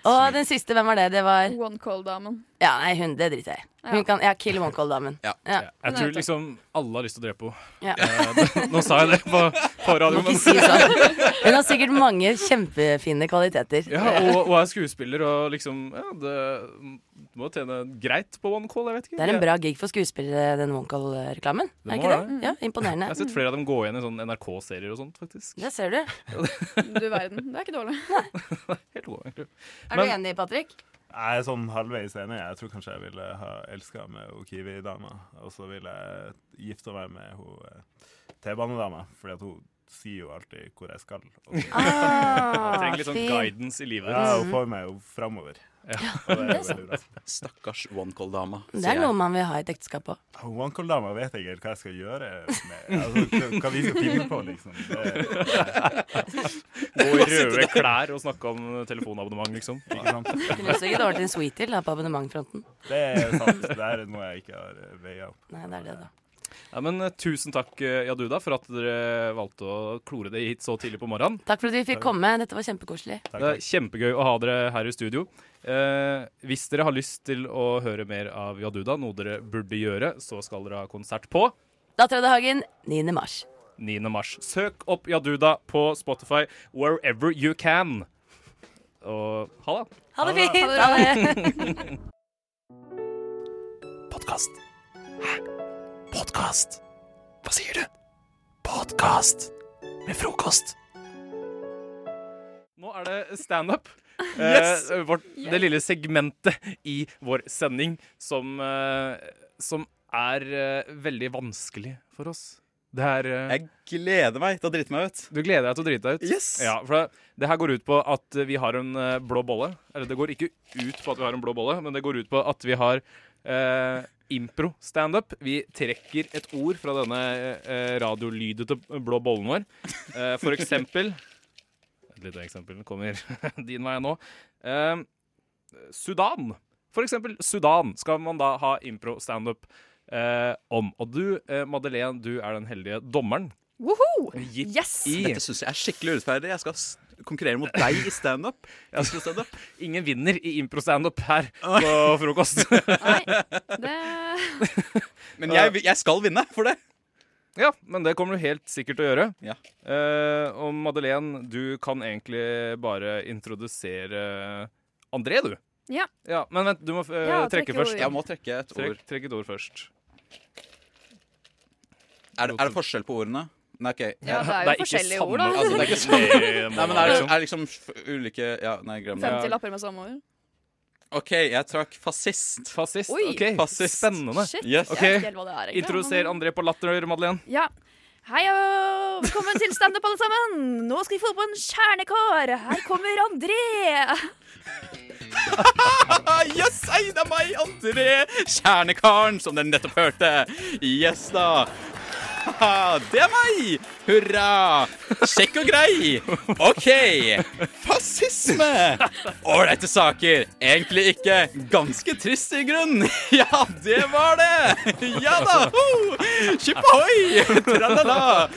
Og den siste, hvem var det? Det var
[LAUGHS] One Call-damen.
Ja, nei, hun, det driter jeg i. Hun
Ja.
kan Ja, kill one call-damen. Ja.
Jeg tror liksom alle har lyst til å drepe
Ja.
henne. Eh, nå sa jeg det på, på radio,
Må ikke si sånn.
[LAUGHS]
Hun har sikkert mange kjempefine kvaliteter.
Ja, og, og er skuespiller og liksom ja, det, Du må tjene greit på one call, jeg vet ikke.
Det er en bra gig for skuespillere, den OneCall-reklamen.
Det
Er
må
ikke det?
være.
Ja, imponerende.
Jeg har sett flere av dem gå igjen i sånn NRK-serier og sånt, faktisk.
Det ser du.
Du verden. Det er ikke dårlig.
[LAUGHS] Helt god, egentlig.
Er du enig, Patrick?
Jeg er sånn halvveis enig. Jeg tror kanskje jeg ville ha elska med hun Kiwi-dama. Og så ville jeg gifta meg med hun eh, T-banedama, fordi at hun sier jo alltid hvor jeg skal. Og så- [LAUGHS]
Ah, Jeg trenger litt sånn fin. guidance i livet.
Ja, hun får meg jo framover.
Ja.
Mm. Og det er
Det er
jo veldig bra.
Stakkars OneCall-dama.
Det er noe man vil ha i et ekteskap òg.
OneCall-dama vet jeg ikke helt hva jeg skal gjøre med altså, Hva vi skal finne på, liksom. Det...
Gå i røde klær og snakke om telefonabonnement, liksom.
Ikke sant?
Kunne du sikkert ordnet en sweet til da, på abonnementfronten.
Det er sant. Det er noe jeg ikke har eh, veia opp.
Nei, det er det, da.
Ja, men eh, Tusen takk, eh, Yaduda, for at dere valgte å klore det hit så tidlig på morgenen.
Takk for at vi fikk komme. Dette var kjempekoselig.
Det er kjempegøy å ha dere her i studio. Eh, hvis dere har lyst til å høre mer av Yaduda, noe dere burde gjøre, så skal dere ha konsert på
Datterødehagen, 9. mars.
9. mars. Søk opp Yaduda på Spotify wherever you can. Og ha det.
Ha det fint!
Ha det
Ha det.
bra. [LAUGHS]
Podkast. Hæ? Podkast? Hva sier du? Podkast med frokost.
Nå er det standup.
Yes!
Eh, vårt, Det lille segmentet i vår sending som, eh, som er eh, veldig vanskelig for oss. Det er eh,
Jeg gleder meg til å drite meg ut.
Du gleder deg til å drite deg ut?
Yes!
Ja, for det, det her går ut på at vi har en eh, blå bolle. Eller det går ikke ut på at vi har en blå bolle, men det går ut på at vi har eh, impro-standup. Vi trekker et ord fra denne eh, radiolydete blå bollen vår. Eh, for eksempel [LAUGHS] Et lite eksempel kommer [LAUGHS] din vei nå. Eh, Sudan. For eksempel Sudan skal man da ha impro-standup eh, om. Og du, eh, Madeleine, du er den heldige dommeren.
Woho!
Gitt
Yes!
i.
Dette syns jeg er skikkelig urettferdig. Jeg skal s- konkurrere mot deg i standup. Impro-standup.
Ingen vinner i impro-standup her på frokost. [LAUGHS]
Men jeg, vil- jeg skal vinne for det.
Ja, men det kommer du helt sikkert til å gjøre.
Ja.
Eh, og Madeleine, du kan egentlig bare introdusere André, du.
Ja.
Ja, men vent, du må eh,
Ja,
trekke,
trekke
først.
ord. Jeg må trekke et ord.
Trekk, trekk et ord først.
Er, er det forskjell på ordene? Nei, ok.
Ja, det er jo Det er ikke forskjellige samme- ord, da.
Altså,
[LAUGHS]
det er ikke samme.
Det må
Nei, men er det,
være.
er det liksom f- ulike Ja, nei, glem det.
50 lapper med samme ord.
OK, jeg trakk fascist.
Fascist?
Oi.
ok,
Fascist.
Spennende.
Shit,
Yes.
jeg
Ok,
vet ikke helt hva det er, egentlig,
Introduser
men-
André på latter, Madeleine.
Ja. Hei og velkommen til standup, alle sammen! Nå skal vi få på en kjernekår. Her kommer André.
[LAUGHS] yes, ei, det er meg, André! Kjernekaren, som dere nettopp hørte. Yes da. Haha, Det er meg! Hurra! Kjekk og grei. OK. Fascisme! Ålreite saker. Egentlig ikke. Ganske trist i grunn. [LAUGHS] Ja, det var det. Ja da. ho! Skip [LAUGHS] ohoi! Tralala.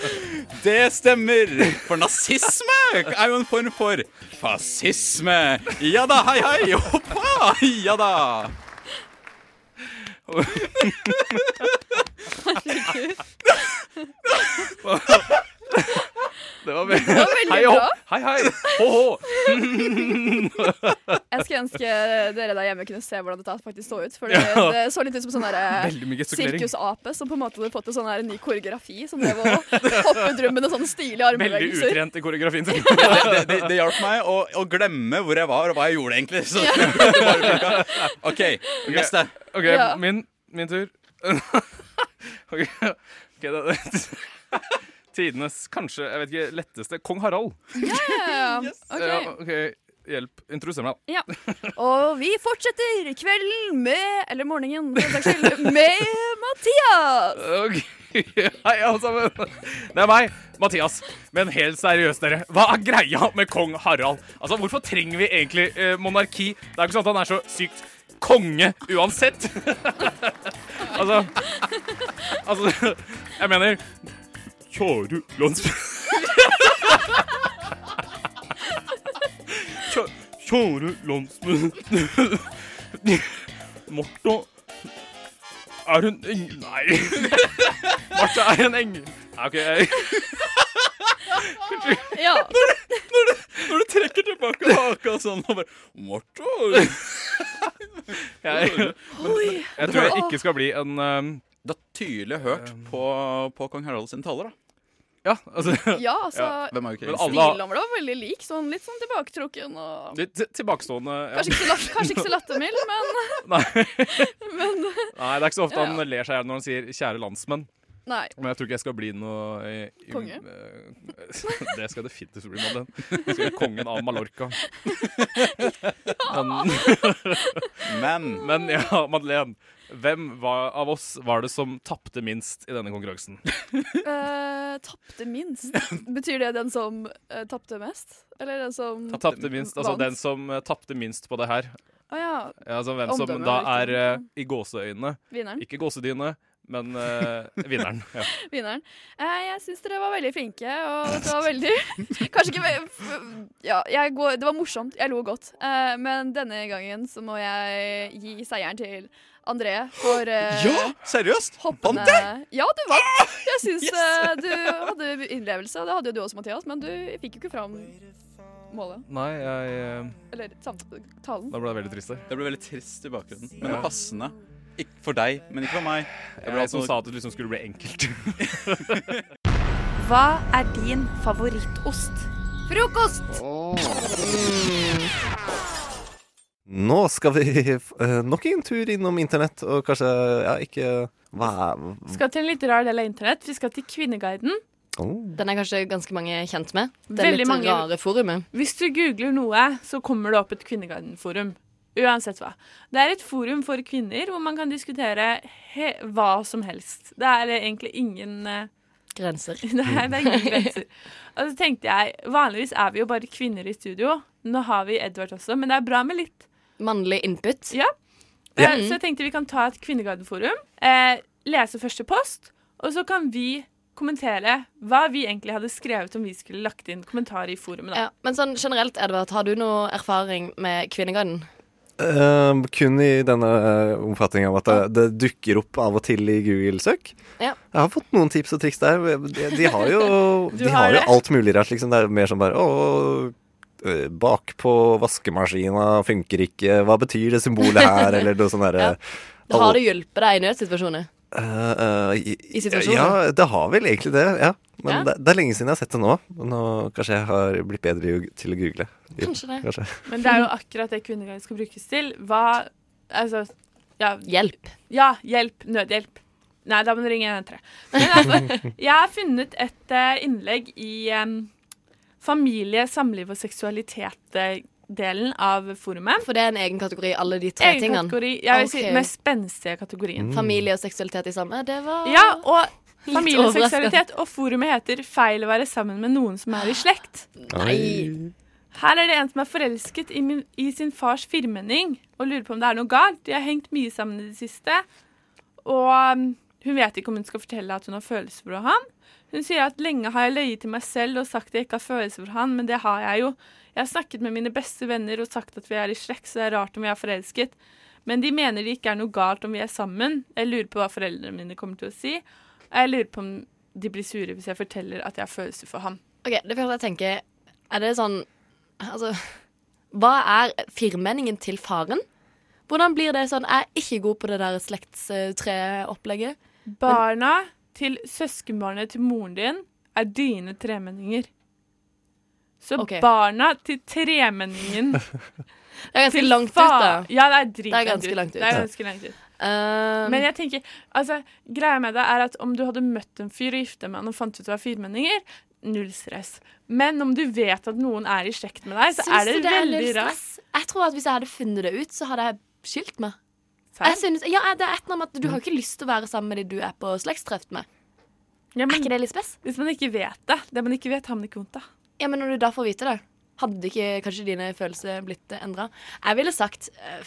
Det stemmer. For nazisme er jo en form for fascisme. Ja da, hei hei. Hoppa! Ja da.
[LAUGHS] Det var
Det var veldig
hei, hopp.
bra.
Hei, hei. Ho, ho.
Jeg skulle
[LAUGHS]
ønske dere der hjemme kunne se hvordan dette faktisk så ut. For det,
Ja.
det så litt ut som sånn der, eh,
Veldig mye gestikulering.
sirkusape som på en måte hadde fått en sånn her ny koreografi. Som drev og hoppet rundt med noen sånne stilige
Veldig
armbevegelser.
utrent i koreografien sin.
Det, det, det, det hjalp meg å, å glemme hvor jeg var, og hva jeg gjorde, egentlig. Så det [LAUGHS] bare funka. OK, neste.
OK,
Ja.
min, min tur. [LAUGHS] OK, ok, da [LAUGHS] Tidenes kanskje jeg vet ikke, letteste Kong Harald.
Ja,
Ja,
ok.
OK, hjelp. Introduser meg, da.
Ja. Og vi fortsetter kvelden med Eller morgenen, for den saks skyld. Med Mathias!
Ok, [LAUGHS] Hei, alle sammen. Det er meg, Mathias. Men helt seriøst, dere. Hva er greia med kong Harald? Altså, Hvorfor trenger vi egentlig eh, monarki? Det er jo ikke sånn at han er så sykt konge uansett. [LAUGHS] altså Altså, jeg mener Kjøru landsby... [LAUGHS] Kjø- Kjære landsmøte. Martha er hun eng... Nei. [LAUGHS] Martha er en engel. Nei, OK. jeg-
Ja.
Når, du, når, du, når du trekker tilbake haka sånn og bare Martha!
[LAUGHS] Jeg, men, jeg tror jeg ikke skal bli en um,
Du har tydelig hørt på, på kong Harald sine taler, da.
Ja, altså
[LAUGHS] Ja, altså
Hvem er
Men
jo ikke
alle har-
Snill over det var veldig lik. Sånn, litt sånn tilbaketrukken og
Litt til- tilbakestående ja.
Kanskje ikke så, latt- kanskje ikke så lattermild, men [LAUGHS] Men
Nei, det er ikke så ofte
Ja, ja.
han ler seg i hjel når han sier 'kjære landsmenn'.
Nei.
Men jeg tror ikke jeg skal bli noe eh, i-
Konge?
eh, [LAUGHS] Det skal jeg definitivt bli, Madeleine. Jeg skal bli kongen av
[LAUGHS]
Mallorca.
Men
Men ja, Madeleine. Hvem var, av oss var det som tapte minst i denne konkurransen?
eh, tapte minst. Betyr det den som uh, tapte mest? Eller den som
Tapte minst, altså
vant?
Den som eh, tapte minst på det her.
Å ja.
Ja, altså Hvem som
Omdømmet,
da
riktig.
er eh, i gåseøynene.
Vinneren.
Ikke gåsedyne, men eh, vinneren. Ja.
[LAUGHS] Vinneren. Eh, jeg syns dere var veldig flinke, og det var veldig [LAUGHS] Kanskje ikke ve- f- Ja, jeg går, det var morsomt. Jeg lo godt. Eh, men denne gangen så må jeg gi seieren til André for eh,
Ja, seriøst?
hoppene-
Vant jeg?
Ja, du vant. Jeg syns eh, du hadde innlevelse, og det hadde jo du også, Mathias, men du fikk jo ikke fram målet.
Nei, jeg eh,
Eller samt- talen.
Da ble jeg veldig trist der.
Det ble veldig trist i bakgrunnen. Men det
Ja.
er passende. Ikke for deg, men ikke for meg.
Jeg
ble
som
altså-
sa at det liksom skulle bli enkelt. [LAUGHS]
[LAUGHS]
Hva er din favorittost?
Frokost!
Mm.
Nå skal vi eh, nok en tur innom internett, og kanskje ja, ikke hva er
Skal til en litt rar del av internett. Vi skal til Kvinneguiden.
oh.
Den er kanskje ganske mange kjent med.
Det
Veldig
litt
mange.
rare
forumet. Hvis du googler noe, så kommer det opp et Kvinneguiden-forum. Uansett hva. Det er et forum for kvinner hvor man kan diskutere he hva som helst. Det er egentlig ingen eh, [LAUGHS]
Grenser.
Nei, det er ingen
[LAUGHS]
grenser. Og så tenkte jeg, vanligvis er vi jo bare kvinner i studio. Nå har vi Edvard også, men det er bra med litt Mannlig input. Ja. Eh,
Ja.
Så jeg tenkte vi kan ta et Kvinneguiden-forum, eh, lese første post, og så kan vi kommentere hva vi egentlig hadde skrevet om vi skulle lagt inn kommentarer i forumet. Da.
Ja, men sånn generelt, Edvard, har du noe erfaring med Kvinneguiden?
Eh, Kun i denne eh, omfatningen av at det, det dukker opp av og til i Google-søk.
Ja.
Jeg har fått noen tips og triks der. De, de har jo,
[LAUGHS] Du
de
har
har jo
det?
alt mulig rart. Liksom. Det er mer som bare å, eh, bak på vaskemaskina
[LAUGHS]
funker ikke. Hva betyr det symbolet her? Eller noe sånt eh, derre
Har det hjulpet deg i nødsituasjoner?
Eh, eh, i-
I situasjonen?
Ja, det har vel egentlig det. ja Men
Ja.
Det, det er lenge siden jeg har sett det nå. Nå Kanskje jeg har blitt bedre i å- til å google.
Kanskje det.
Kanskje.
Men det er jo akkurat det kvinneguiden skal brukes til. Hva Altså ja,
Hjelp.
Ja, hjelp. Nødhjelp. Nei, da må du ringe 113. Men altså, jeg har funnet et eh, innlegg i em, familie, samliv og seksualitet-delen av forumet.
For det er en egen kategori, alle de tre
Egen
tingene?
kategori. Jeg vil si
Ok.
mest spenstige kategorien.
Familie og seksualitet i samme? Det var
Ja, og
Litt
familie og
overraskende.
seksualitet. Og forumet heter 'Feil å være sammen med noen som er i slekt'.
Nei.
Her er det en som er forelsket i, min, i sin fars firmenning og lurer på om det er noe galt. De har hengt mye sammen i det siste, og um, hun vet ikke om hun skal fortelle at hun har følelser for ham. Hun sier at lenge har jeg løyet til meg selv og sagt at jeg ikke har følelser for han, men det har jeg jo. Jeg har snakket med mine beste venner og sagt at vi er i slekt, så det er rart om vi er forelsket. Men de mener det ikke er noe galt om vi er sammen. Jeg lurer på hva foreldrene mine kommer til å si, og jeg lurer på om de blir sure hvis jeg forteller at jeg har følelser for ham.
OK, det første jeg tenker, er det sånn Altså, hva er firmenningen til faren? Hvordan blir det sånn? Jeg er ikke god på det der slektstreopplegget.
Barna til søskenbarnet til moren din er dine tremenninger. Så
Ok.
barna til
[LAUGHS]
tremenningen Det
er ganske langt ut, da.
Ja, det er dritlangt
Det er ganske langt ut.
Det
Um,
er
Ja.
ganske langt ut. Men jeg tenker, altså, greia med det er at om du hadde møtt en fyr og gifta med han og fant ut du var firmenninger, null stress. Men om du vet at noen er i slekt med deg, så
Syns
er det,
du det er
veldig
null
rart.
stress? Jeg tror at hvis jeg hadde funnet det ut, så hadde jeg skilt meg.
Serr?
Jeg synes, ja, det er et eller annet med at Du
Mm.
har ikke lyst til å være sammen med de du er på slektstreff med. er ikke det litt spes?
Hvis man ikke vet det. Det man ikke vet, har man ikke vondt av.
Ja, Men når du da får vite det, hadde ikke kanskje dine følelser blitt endra? Jeg ville sagt eh,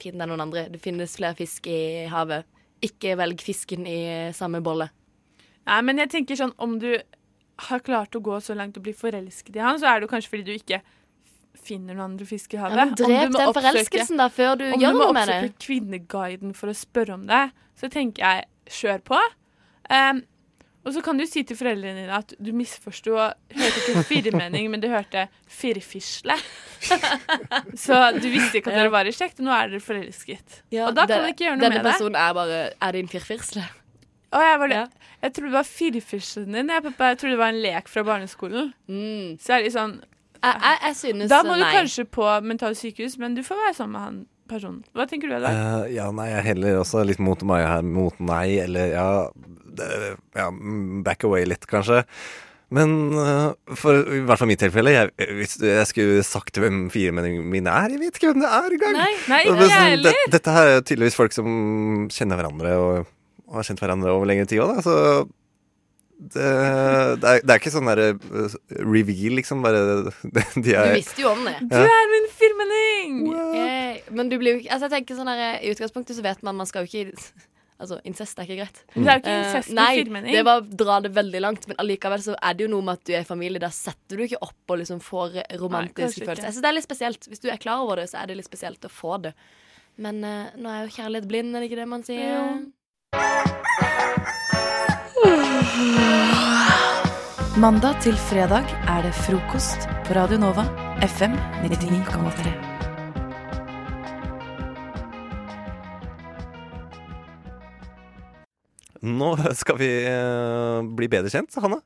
finn deg noen andre. Det finnes flere fisk i havet. Ikke velg fisken i samme bolle.
Nei, men jeg tenker sånn, om du har klart å gå så langt og bli forelsket i han, så er det jo kanskje fordi du ikke finner noen andre fisk i havet.
Ja,
Om
men
du
drep
må
den
oppsøke-
forelskelsen da, før du gjør noe med
Om du må
det.
oppsøke Kvinneguiden for å spørre om det, så tenker jeg, kjør på. Em, og så kan du si til foreldrene dine at du misforstod, hørte ikke firmening, men du hørte
[LAUGHS]
firfisle. så du visste ikke at dere var i slekt, og nå er dere forelsket. og da kan du ikke gjøre noe med
Denne
det.
personen er bare Er din firfirsle?
Å, jeg, var, jeg trodde det var firfislen din. Jeg, pappa, jeg trodde det var en lek fra barneskolen.
Mm.
Så er det sånn
synes
Da må du
nei.
kanskje på mentalsykehus, men du får være sammen med han personen. Hva tenker du, Edvard?
Eh, ja, nei, jeg heller også litt mot meg her. Mot nei, eller ja, det, ja mm, Back away litt, kanskje. Men eh, for i hvert fall mitt tilfelle jeg, Hvis jeg skulle sagt hvem firemenningene mine er Jeg vet ikke hvem det er engang!
Nei, nei,
Og det er
ikke jeg
sånn, det,
heller.
dette her er tydeligvis folk som kjenner hverandre og, og har kjent hverandre over lengre tid òg, da. Så det, det, er, det er ikke sånn derre eh, reveal, liksom. Bare [LAUGHS] de, de er
Du visste jo om det.
Ja.
min firmenning!
Yay. Men du blir jo ikke altså jeg tenker sånn her, I utgangspunktet så vet man man skal jo ikke [LAUGHS] Altså, incest er ikke greit.
Men det er jo ikke
Eh,
incest med
nei,
firmenning.
det var å dra det veldig langt, men allikevel så er det jo noe med at du er i familie. Der setter du ikke opp og liksom får
Nei,
romantiske
kanskje ikke.
følelser. Jeg synes det er litt spesielt. Hvis du er klar over det, så er det litt spesielt å få det. Men eh, nå er jo kjærlighet blind, er det ikke det man sier?
Mandag til fredag er det frokost på Radio Nova, FM 99,3.
Nå skal vi eh, bli bedre kjent, Hanne.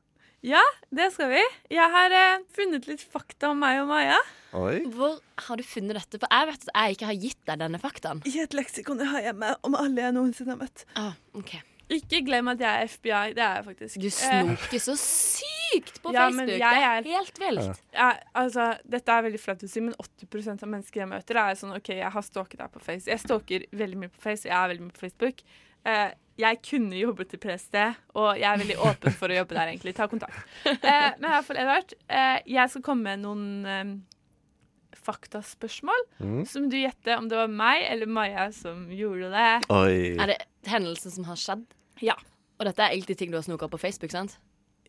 Ja, det skal vi. Jeg har eh, funnet litt fakta om meg og Maja.
Oi.
Hvor har du funnet dette? For jeg vet at jeg ikke har gitt deg denne faktaen.
I et leksikon jeg har hjemme om alle jeg noensinne har møtt.
Ah, ok.
Ikke glem at jeg er FBI. Det er jeg faktisk. Eh,
Du snoker så sykt på
[LAUGHS] ja,
Facebook.
Men
Det
jeg
er
er,
helt vilt.
Jeg, altså, dette er veldig flaut å si, men 80 av mennesker jeg møter, er sånn OK, jeg har stalket deg på Face. Jeg stalker veldig mye på Face, og jeg er veldig mye på Facebook. Eh, jeg kunne jobbet i PST, og jeg er veldig åpen for å jobbe der, egentlig. Ta kontakt. Eh, men i hvert fall, Edvard, eh, jeg skal komme med noen eh, faktaspørsmål.
Mm.
Som du gjetter om det var meg eller Maja som gjorde det.
Oi.
Er det hendelsen som har skjedd?
Ja.
Og dette er egentlig ting du har snoka på Facebook, sant?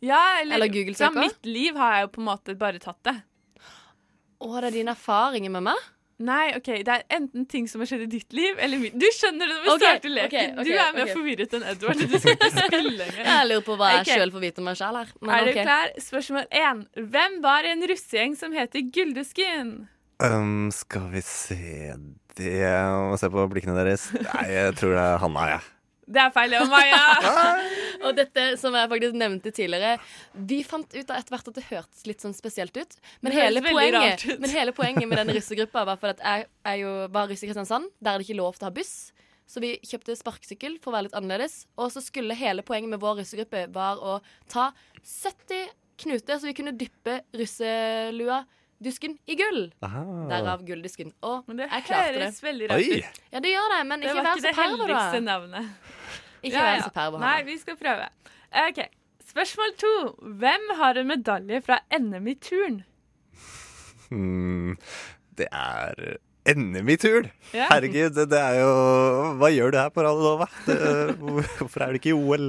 Ja, eller,
Eller Google
Fra
søker?
mitt liv har jeg jo på en måte bare tatt det.
Å, det er dine erfaringer med meg?
Nei, ok, det er enten ting som har skjedd i ditt liv, [LAUGHS] eller mitt. Du skjønner det når vi
Ok,
starter leken.
ok, ok,
du er mer
ok.
forvirret enn Edward. Du skal ikke
[LAUGHS]
spille engang.
Jeg lurer på hva jeg
Ok,
sjøl får vite om meg sjæl her. Men
Er du
ok.
klar? Spørsmål én. Hvem var i en russegjeng som heter Guldeskin?
Um, skal vi se det Jeg Må se på blikkene deres. Nei, jeg tror det er Hanna, jeg.
Det er feil, det var Maja.
og dette som jeg faktisk nevnte tidligere, vi fant ut av etter hvert at det hørtes litt sånn spesielt ut.
Det
Men, hele
hørtes veldig
poenget,
rart ut.
men hele poenget med den russegruppa var for at jeg er jo var russ i Kristiansand, der er det ikke lov til å ha buss. Så vi kjøpte sparkesykkel for å være litt annerledes. Og så skulle hele poenget med vår russegruppe var å ta 70 knuter, så vi kunne dyppe russelua, dusken, i gull.
Aha.
Derav gulldisken. Og
det
jeg klarte det.
høres veldig rart Oi. ut.
Ja, det gjør det, men
Det
ikke
var
vær
ikke
så
det
perver, da.
heldigste navnet.
Ikke vær så perver, Hanna.
Nei, vi skal prøve. Ok, Spørsmål to. Hvem har en medalje fra NM i turn?
Hmm, det er NM i turn!
Ja.
Herregud, det, det er jo Hva gjør du her på Radionova? Det, Hvorfor er du ikke i OL?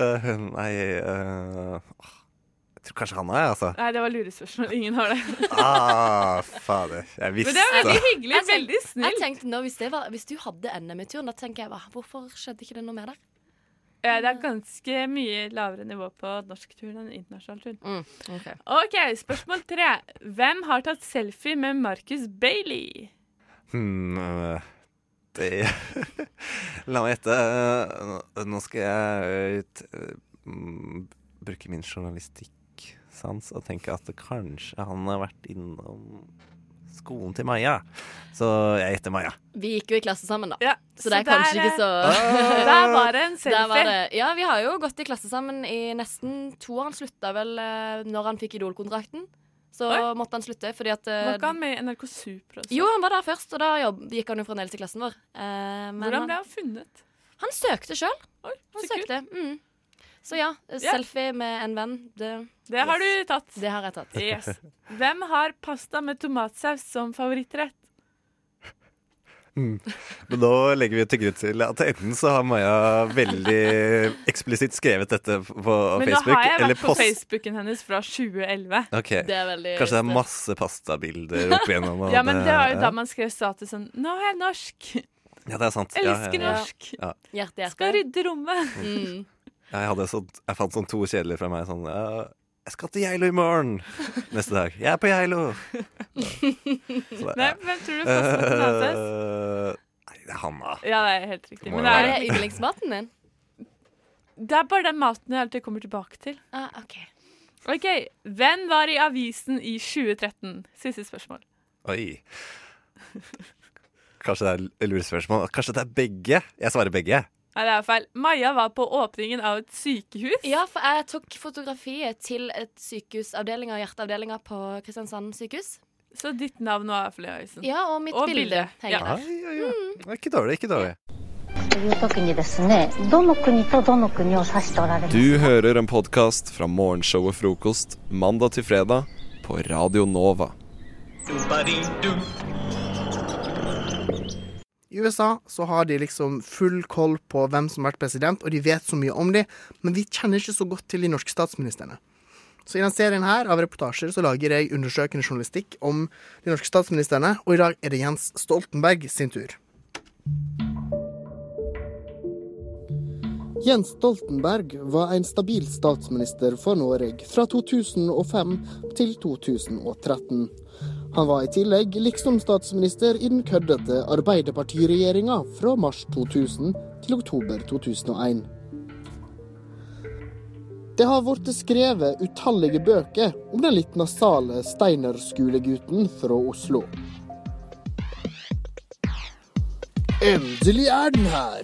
Eh, nei eh, Jeg tror kanskje han er, altså.
Nei, det var lurespørsmål. Ingen
[LAUGHS]
har det.
Ah, fader. Jeg visste
hyggelig. veldig snilt.
Jeg tenkte nå, hvis, det var, hvis du hadde NM i turen, da tenker jeg bare Hvorfor skjedde ikke det noe mer der?
Eh,
Mm.
Det er ganske mye lavere nivå på norsk turn enn internasjonal turn.
Mm,
OK, spørsmål tre. Hvem har tatt selfie med Marcus Bailey?
Hmm, øh, det [LAUGHS] La meg gjette. øh, Nå skal jeg øh, t- øh, mm, bruke min journalistikksans og tenke at kanskje han har vært innom skolen til Maja. Så jeg gjetter Maja.
Vi gikk jo i klasse sammen, da. så,
så
det er kanskje
der er-
ikke så
Ah. [LAUGHS] Der var det en selfie.
[LAUGHS] Der var det- Ja, vi har jo gått i klasse sammen i nesten to år. Han slutta vel eh, når han fikk Idol-kontrakten. Så
Oi.
måtte han slutte fordi at eh,
Var ikke han med i NRK Super også?
Jo, han var der først, og da jobb, gikk han jo fremdeles i klassen vår. Eh, men
Hvordan ble
han,
han funnet?
han søkte sjøl. Han
så kult.
søkte. Mm. Så ja, selfie med en venn. Det,
Det har du tatt.
Det har jeg tatt.
Yes. Hvem har pasta med tomatsaus som favorittrett?
Hmm. Men nå legger vi til grunn til at enten så har Maja veldig eksplisitt skrevet dette på
Men nå
Facebook,
har jeg
eller
vært på
post...
Facebooken hennes fra 2011.
Ok, Kanskje det er masse pastabilder opp igjennom.
[LAUGHS]
og
Ja, men det var jo
ja.
da man skrev status sånn Nå er jeg norsk!
Ja, det er sant. Ja, ja,
Elsker
ja.
norsk!
Ja. Mm.
Skal rydde rommet!
Ja, Jeg, hadde sånn, jeg fant sånn to kjedelige fra meg. Sånn ja, 'Jeg skal til Geilo i morgen!' Neste dag 'Jeg er på Geilo'. Så det-
Nei, hvem tror du passer med tomatsaus?
Eh, Nei, det er Hanna.
Ja, det er helt riktig.
Det må
Men
jo
det
være
er
det.
yndlingsmaten din?
Det er bare den maten jeg alltid kommer tilbake til.
Ah, ok.
OK. Hvem var i avisen i 2013? Siste spørsmål.
Oi. Kanskje det er lurespørsmål. Kanskje det er begge? Jeg svarer begge.
Nei, det er feil. Maja var på åpningen av et sykehus.
Ja, for jeg tok fotografiet til et sykehusavdeling og hjerteavdelinga på Kristiansand sykehus.
Så ditt navn var Fløy Høysen.
Ja, og mitt bilde henger
Oi, oi, oi. Ikke dårlig, ikke dårlig.
という時にですねどの国とどの国を指しておられます
Du hører en podkast fra morgenshowet Frokost mandag til fredag på Radio Nova.
I USA så har de liksom full koll på hvem som har vært president, og de vet så mye om dem, men vi kjenner ikke så godt til de norske statsministrene. Så i denne serien her av reportasjer så lager jeg undersøkende journalistikk om de norske statsministrene, og i dag er det Jens Stoltenberg sin tur.
Jens Stoltenberg var en stabil statsminister for Norge fra 2005 til 2013. Han var i tillegg liksom-statsminister i den køddete Arbeiderpartiregjeringa fra mars 2000 til oktober 2001. Det har blitt skrevet utallige bøker om den litt nasale Steiner-skolegutten fra Oslo. Endelig er den her!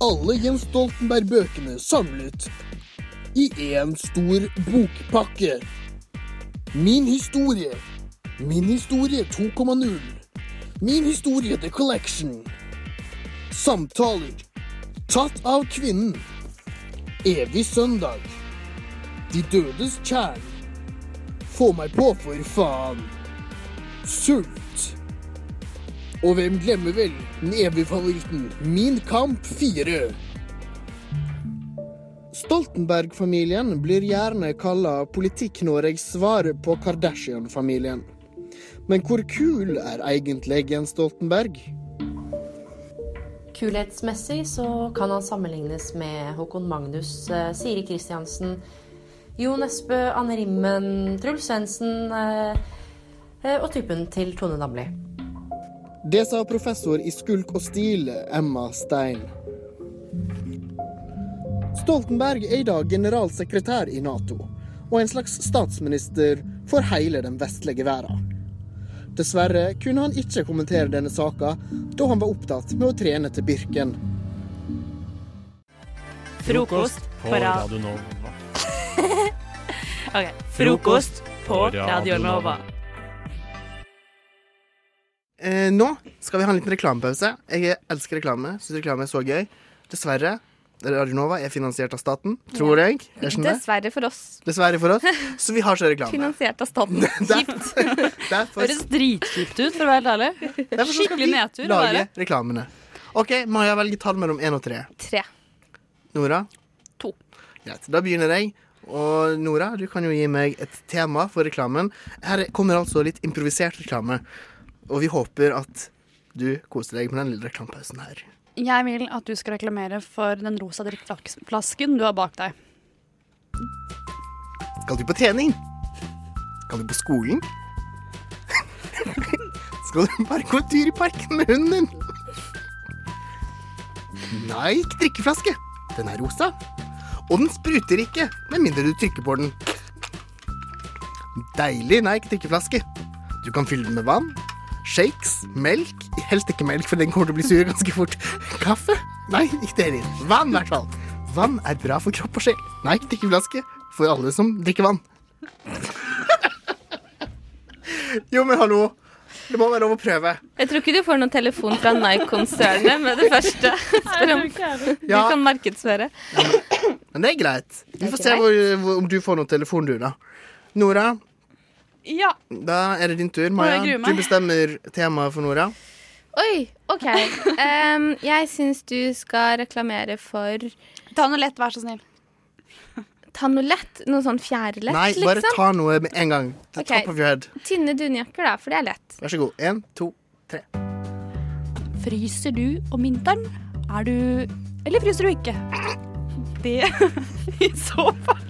alle Jens Stoltenberg-bøkene samlet i én stor bokpakke. Min historie. Min historie 2,0. Min historie The Collection. Samtaler. Tatt av kvinnen. Evig søndag. De dødes kjern. Få meg på, for faen. Sult. Og hvem glemmer vel den evige favoritten Min kamp 4? Stoltenberg-familien blir gjerne kalla Politikk-Noregs svar på Kardashian-familien. Men hvor kul er egentlig Jens Stoltenberg?
Kulhetsmessig så kan han sammenlignes med Håkon Magnus, eh, Siri Kristiansen, Jo Nesbø, Anne Rimmen, Truls Svendsen eh, eh, og typen til Tone Damli.
Det sa professor i skulk og stil, Emma Stein. Stoltenberg er i dag generalsekretær i Nato, og en slags statsminister for hele den vestlige verden. Dessverre kunne han ikke kommentere denne saka, da han var opptatt med å trene til Birken.
Frokost på Radio Nova.
Eh.
Frokost
på Radio Nova.
Eh, nå skal vi ha en liten reklamepause. Jeg elsker reklame. Syns reklame er så gøy. Dessverre. Radionova er finansiert av staten, tror
Ja.
jeg. Er ikke den det?
Dessverre for oss.
Dessverre for
[LAUGHS]
oss. Så vi har ikke reklame.
Finansiert av
[LAUGHS]
staten. Kjipt.
Derfor,
Høres dritkjipt ut, for å være helt ærlig.
derfor så skal
Skikkelig
vi
nedtur å
lage
være.
reklamene. OK, Maja velger tall mellom én og tre.
Tre.
Nora?
To.
Greit. Da begynner jeg. Og Nora, du kan jo gi meg et tema for reklamen. Her kommer altså litt improvisert reklame. Og vi håper at du koser deg med den lille reklamepausen her.
Jeg vil at du skal reklamere for den rosa drikkeflasken du har bak deg.
Skal du på trening? Skal du på skolen? Skal du bare gå en tur i parken med hunden din? Nei, ikke drikkeflaske. Den er rosa. Og den spruter ikke, med mindre du trykker på den. Deilig Nike drikkeflaske. Du kan fylle den med vann, shakes, melk Helst ikke melk, for den kommer til å bli sur ganske fort. Kaffe? Nei, ikke det heller. Vann, i hvert fall. Vann er bra for kropp og sjel. Nike drikkeflaske for alle som drikker vann. [LAUGHS] Jo, men hallo. Det må være lov å prøve.
Jeg tror ikke du får noen telefon fra Nike-konsernet med det første. Spør om du
Ja.
kan markedsføre.
Men det er greit. Vi
er
får se hvor, hvor, om du får noen telefon, du, da. Nora,
Ja.
da er det din tur.
Å,
Maja,
jeg gruer meg.
du bestemmer temaet for Nora.
Oi, OK. Em, jeg syns du skal reklamere for Ta noe lett, vær så snill. Ta noe lett? Noe sånn fjærelett,
Nei,
liksom?
bare ta noe med en gang.
Ok.
Top of your head.
Tynne dunjakker, da, for det er lett.
Vær så god. Én, to, tre.
Fryser du om vinteren? Er du Eller fryser du ikke? Det [LAUGHS] I så fall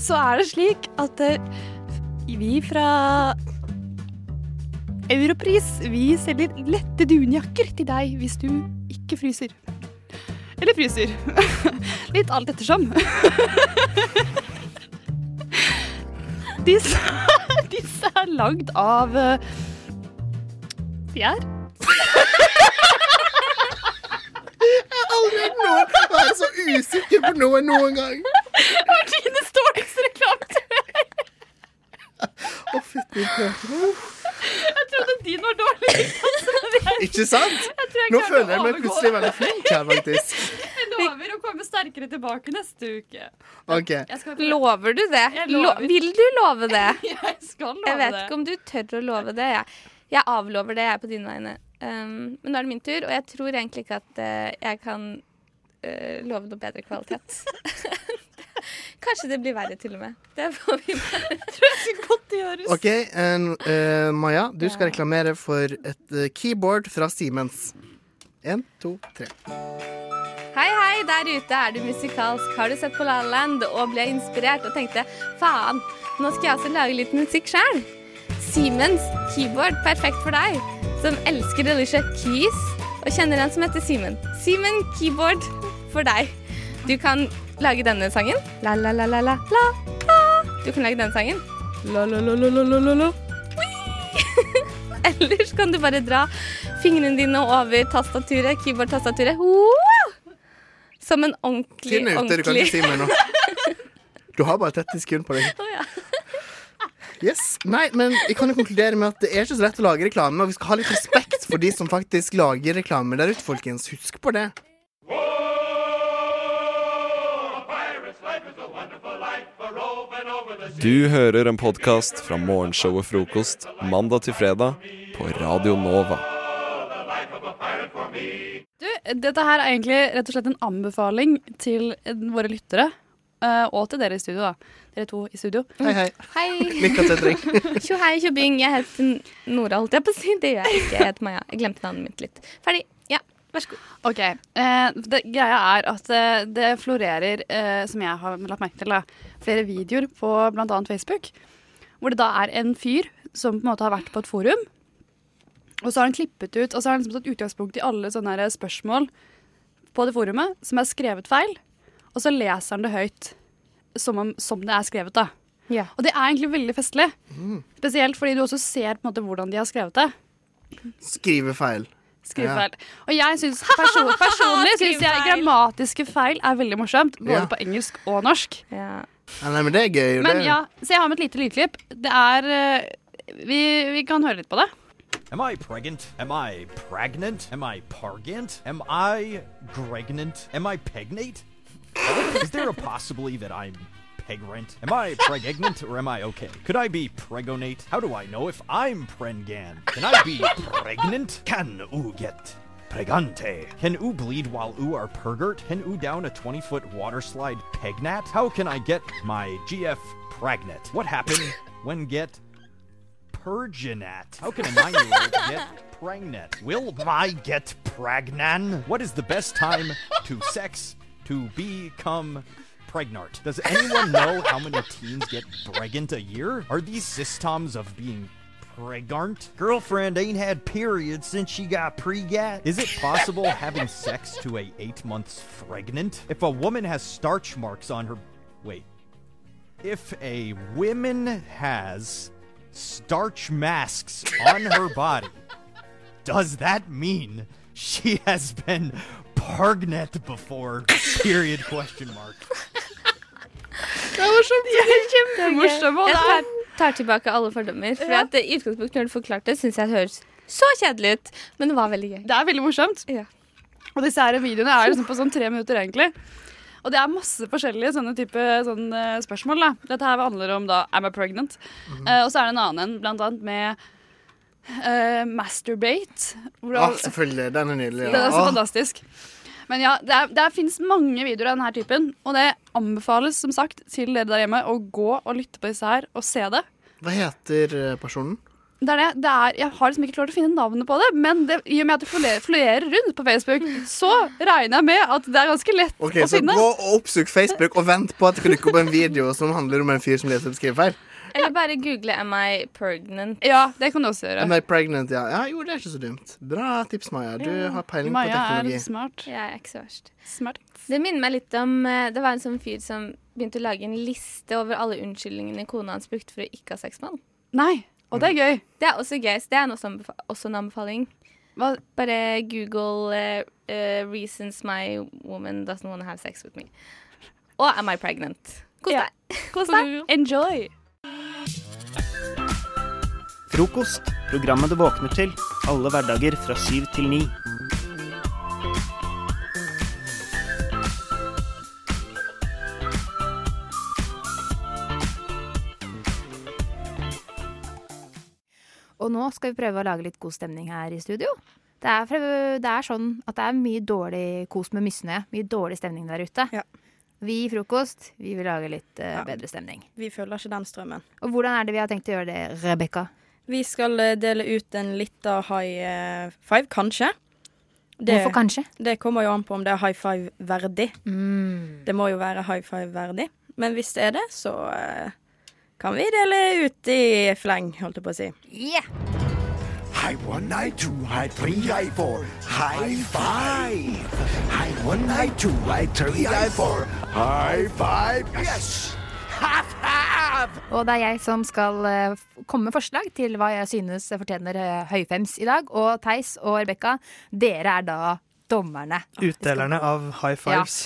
så er det slik at eh, vi fra Europris, vi selger lette dunjakker til deg hvis du ikke fryser. Eller fryser. [LAUGHS] Litt alt ettersom. [LAUGHS] Disse, disse er [LAUGHS] lagd av eh, fjær.
Jeg har aldri hørt noen være så usikker på noe noen gang.
Martine står det så reklame til
Å, fytti grøten.
Jeg trodde din var dårlig.
Ikke sant? Nå føler jeg meg plutselig veldig flink her, faktisk.
[LAUGHS] Jeg lover å komme sterkere tilbake neste uke.
OK.
Lover du det? Lo- Vil du love det?
Jeg skal love
[LAUGHS] Jeg vet
det.
ikke om du tør å love det. Jeg, jeg avlover det, jeg, på dine vegne. Um, men nå er det min tur, og jeg tror egentlig ikke at eh, jeg kan eh, love noe bedre kvalitet. [LAUGHS] Kanskje det blir verre, til og med. Det får vi bare tror jeg skal godt gjøres.
OK, en, eh, Maja, du skal reklamere for et eh, keyboard fra Siemens. Én, to, tre.
Hei, hei, der ute er du musikalsk. Har du sett på La La Land og ble inspirert og tenkte faen, nå skal jeg også lage litt musikk sjøl? Siemens keyboard, perfekt for deg som elsker Alicia Keys og kjenner en som heter Simen. Simen keyboard for deg. Du kan lage denne sangen. La, la, la, la, la, la. la. Du kan lage denne sangen. [LAUGHS] La, la, la, la, la, la, la, la. Ellers kan du bare dra fingrene dine over tastaturet, keyboard-tastaturet. Wow! Som en ordentlig,
Tiden er ute, du kan
ordentlig-
ikke si mer nå.
[LAUGHS]
Du har bare 30 sekunder på deg. [LAUGHS] Yes. Nei, men jeg kan jo konkludere med at det er ikke så lett å lage reklame, og vi skal ha litt respekt for de som faktisk lager reklame der ute, folkens. Husk på det.
Du hører en podkast fra morgenshowet Frokost mandag til fredag på Radio Nova.
Du, dette her er egentlig rett og slett en anbefaling til eh, våre lyttere. eh, og til dere i studio, da. Dere to i studio.
Hei,
[LAUGHS]
hei.
Hei.
Lykke til, Trygg.
Tjo hei, tjo bing. Jeg heter Nora, holdt jeg på å si. Det gjør jeg ikke. Jeg heter Maja. Jeg glemte navnet mitt litt. Ferdig. Ja, vær så god.
Ok, eh, det, Greia er at eh, det florerer, eh, som jeg har lagt merke til, da, flere videoer på bl.a. Facebook. Hvor det da er en fyr som på en måte har vært på et forum, Og så har han klippet ut, og så har han liksom tatt utgangspunkt i alle sånne her spørsmål på det forumet som er skrevet feil, og så leser han det høyt som, om, som det er skrevet, da. Og det er egentlig veldig festlig.
Mm.
Spesielt fordi du også ser på en måte hvordan de har skrevet det.
Skrivefeil.
Skrivefeil. Og jeg synes perso personlig syns jeg
Skrivefeil.
grammatiske feil er veldig morsomt, både
Ja.
på engelsk og norsk.
Ja. Nei, men det er gøy.
Men
det.
ja, så jeg har med et lite lydklipp. Det er eh, vi, vi kan høre litt på det.
Am I pregnant? Am I pregnant? Am I pargant? Am I gregnant? Am I pegnate? Is there a possibility that I'm pegrant? Am I pregnant or am I okay? Could I be pregonate? How do I know if I'm prengan? Can I be pregnant? Can u get pregante? Can u bleed while u are pergert? Can u down a 20 foot water slide pegnat? How can I get my GF pregnant? What happened when get Perginat. How can a nine-year-old get pregnant? Will I get pragnan? What is the best time to sex to become pregnant? Does anyone know how many teens get pregnant a year? Are these systems of being pregnant? Girlfriend ain't had periods since she got pregat. Is it possible having sex to a eight-month pregnant? If a woman has starch marks on her... Wait. If a woman has starch masks on her body, does that mean she has been pargnet before? Period question mark.
Det er morsomt.
Det er
kjempemorsomt, og
Jeg
det er-
tar, tar tilbake alle fordommer. For
Ja.
at eh, i utgangspunktet når du forklarte det, syns jeg det høres så kjedelig ut. Men det var veldig gøy.
Det er veldig morsomt. Og disse her videoene er liksom på sånn tre minutter, egentlig. Og det er masse forskjellige sånne type sånn, eh, spørsmål. da. Dette her handler om da Am I pregnant?
Mhm.
Eh, og så er det en annen en, blant annet med eh, masturbate. hvor
Ah,
han-
selvfølgelig. Den er nydelig. Ah,
det er så
Åh.
fantastisk. Men ja, det, er, det finnes mange videoer av denne typen, og det anbefales som sagt til dere der hjemme å gå og lytte på disse her og se det.
Hva heter eh, personen?
Det er det. Det er, jeg har liksom ikke klart å finne navnet på det, men det, i og med at det florerer- florerer rundt på Facebook, så regner jeg med at det er ganske lett
Ok,
å
Så
finne.
gå og oppsøk Facebook og vent på at det dukker opp en video som handler om en fyr som leser opp skrivefeil.
Eller bare google 'Am I pregnant?'
Ja, det kan du også gjøre.
Am I pregnant? Ja. ja, jo, det er ikke så dumt. Bra tips, Maja. Du
Ja.
har peiling
Maja
på
er
teknologi.
smart.
Jeg er ikke så verst. Det minner meg litt om eh, Det var en sånn fyr som begynte å lage en liste over alle unnskyldningene kona hans brukte for å ikke ha sex med han.
Nei,
Mm.
og det er gøy.
Det er også gøy. så Det er en også, anbefa også en anbefaling. Bare google eh, eh, 'reasons my woman doesn't want to have sex with me'. Og 'am I pregnant'? Kos deg.
Kos deg. Enjoy.
Frokost, programmet du våkner til. Alle hverdager fra syv til ni.
Og nå skal vi prøve å lage litt god stemning her i studio. Det er, fra- det er sånn at det er mye dårlig kos med misnøye. Mye dårlig stemning der ute. Vi i Frokost vi vil lage litt eh, bedre stemning.
Vi følger ikke den strømmen.
Og hvordan er det vi har tenkt å gjøre det, Rebekka?
Vi skal eh, dele ut en lita high eh, five, kanskje.
Hvorfor kanskje?
Det kommer jo an på om det er high five verdig.
Mm.
Det må jo være high five verdig. Men hvis det er det, så eh, kan vi dele ut i fleng, holdt jeg på å si.
Yeah!
High one, high two, high three, high four, high five. High one, high two, high three, high four, high five. Yes!
Og det er jeg som skal eh, f- komme med forslag til hva jeg synes fortjener eh, høyfems i dag. Og Theis og Rebekka, dere er da dommerne.
Utdelerne av high fives.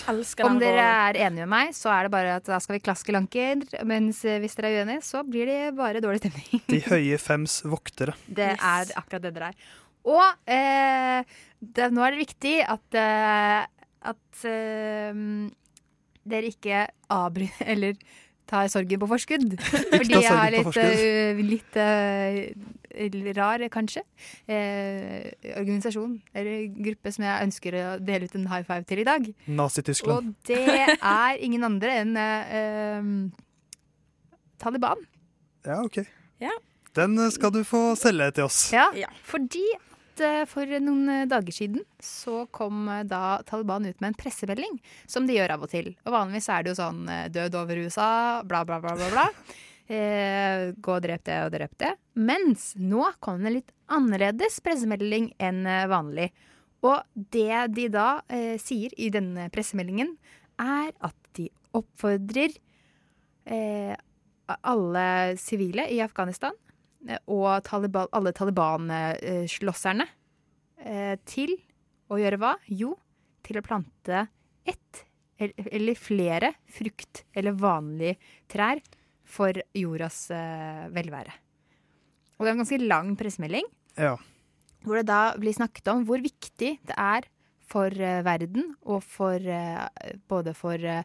Om dere er enige med meg, så er det bare at da skal vi klaske lanker. Mens eh, hvis dere er uenige, så blir det bare dårlig stemning.
De høye fems voktere.
[LAUGHS] Det er akkurat det dere er. Og eh, det, nå er det viktig at, eh, at eh, dere ikke avbryter [LAUGHS] eller tar sorgen på forskudd. Fordi
ta
jeg har
sorgen på
litt, eh, litt eh, rar, kanskje, eh, organisasjon eller gruppe som jeg ønsker å dele ut en high five til i dag.
Nazi-Tyskland.
Og det er ingen andre enn eh, eh, Taliban.
Ja, OK.
Ja.
Den eh, skal du få selge til oss.
Ja, fordi at eh, for noen eh, dager siden så kom eh, da Taliban ut med en pressemelding, som de gjør av og til. Og vanligvis er det jo sånn eh, død over USA, bla, [LAUGHS] bla, bla, bla. bla. Eh, gå og drep det og drep det. Mens nå kom det en litt annerledes pressemelding enn eh, vanlig. Og det de da eh, sier i denne pressemeldingen, er at de oppfordrer eh, alle sivile i Afghanistan eh, og Taliban, alle Taliban-slåsserne eh, til å gjøre hva? Jo, til å plante ett el- eller flere frukt- eller vanlige trær for jordas eh, velvære. Og det er en ganske lang pressemelding
Ja.
hvor det da blir snakket om hvor viktig det er for eh, verden, og for, eh, både for eh,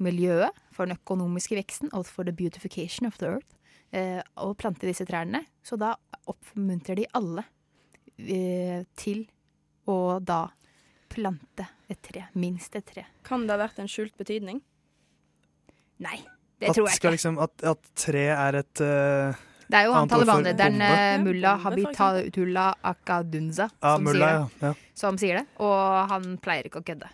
miljøet, for den økonomiske veksten og for the beautification of the earth, eh, å plante disse trærne. Så da oppmuntrer de alle eh, til å da plante et tre, minst et tre.
Kan det ha vært en skjult betydning?
Nei,
at, skal liksom, at, at tre er et eh,
Det er jo han
annet ord for
talibanlederen
bombe.
eh, mulla
bombe, for
Habitullah Akadunza
Ja,
som,
mulla,
sier det,
ja. ja.
som sier det. Og han pleier ikke å kødde.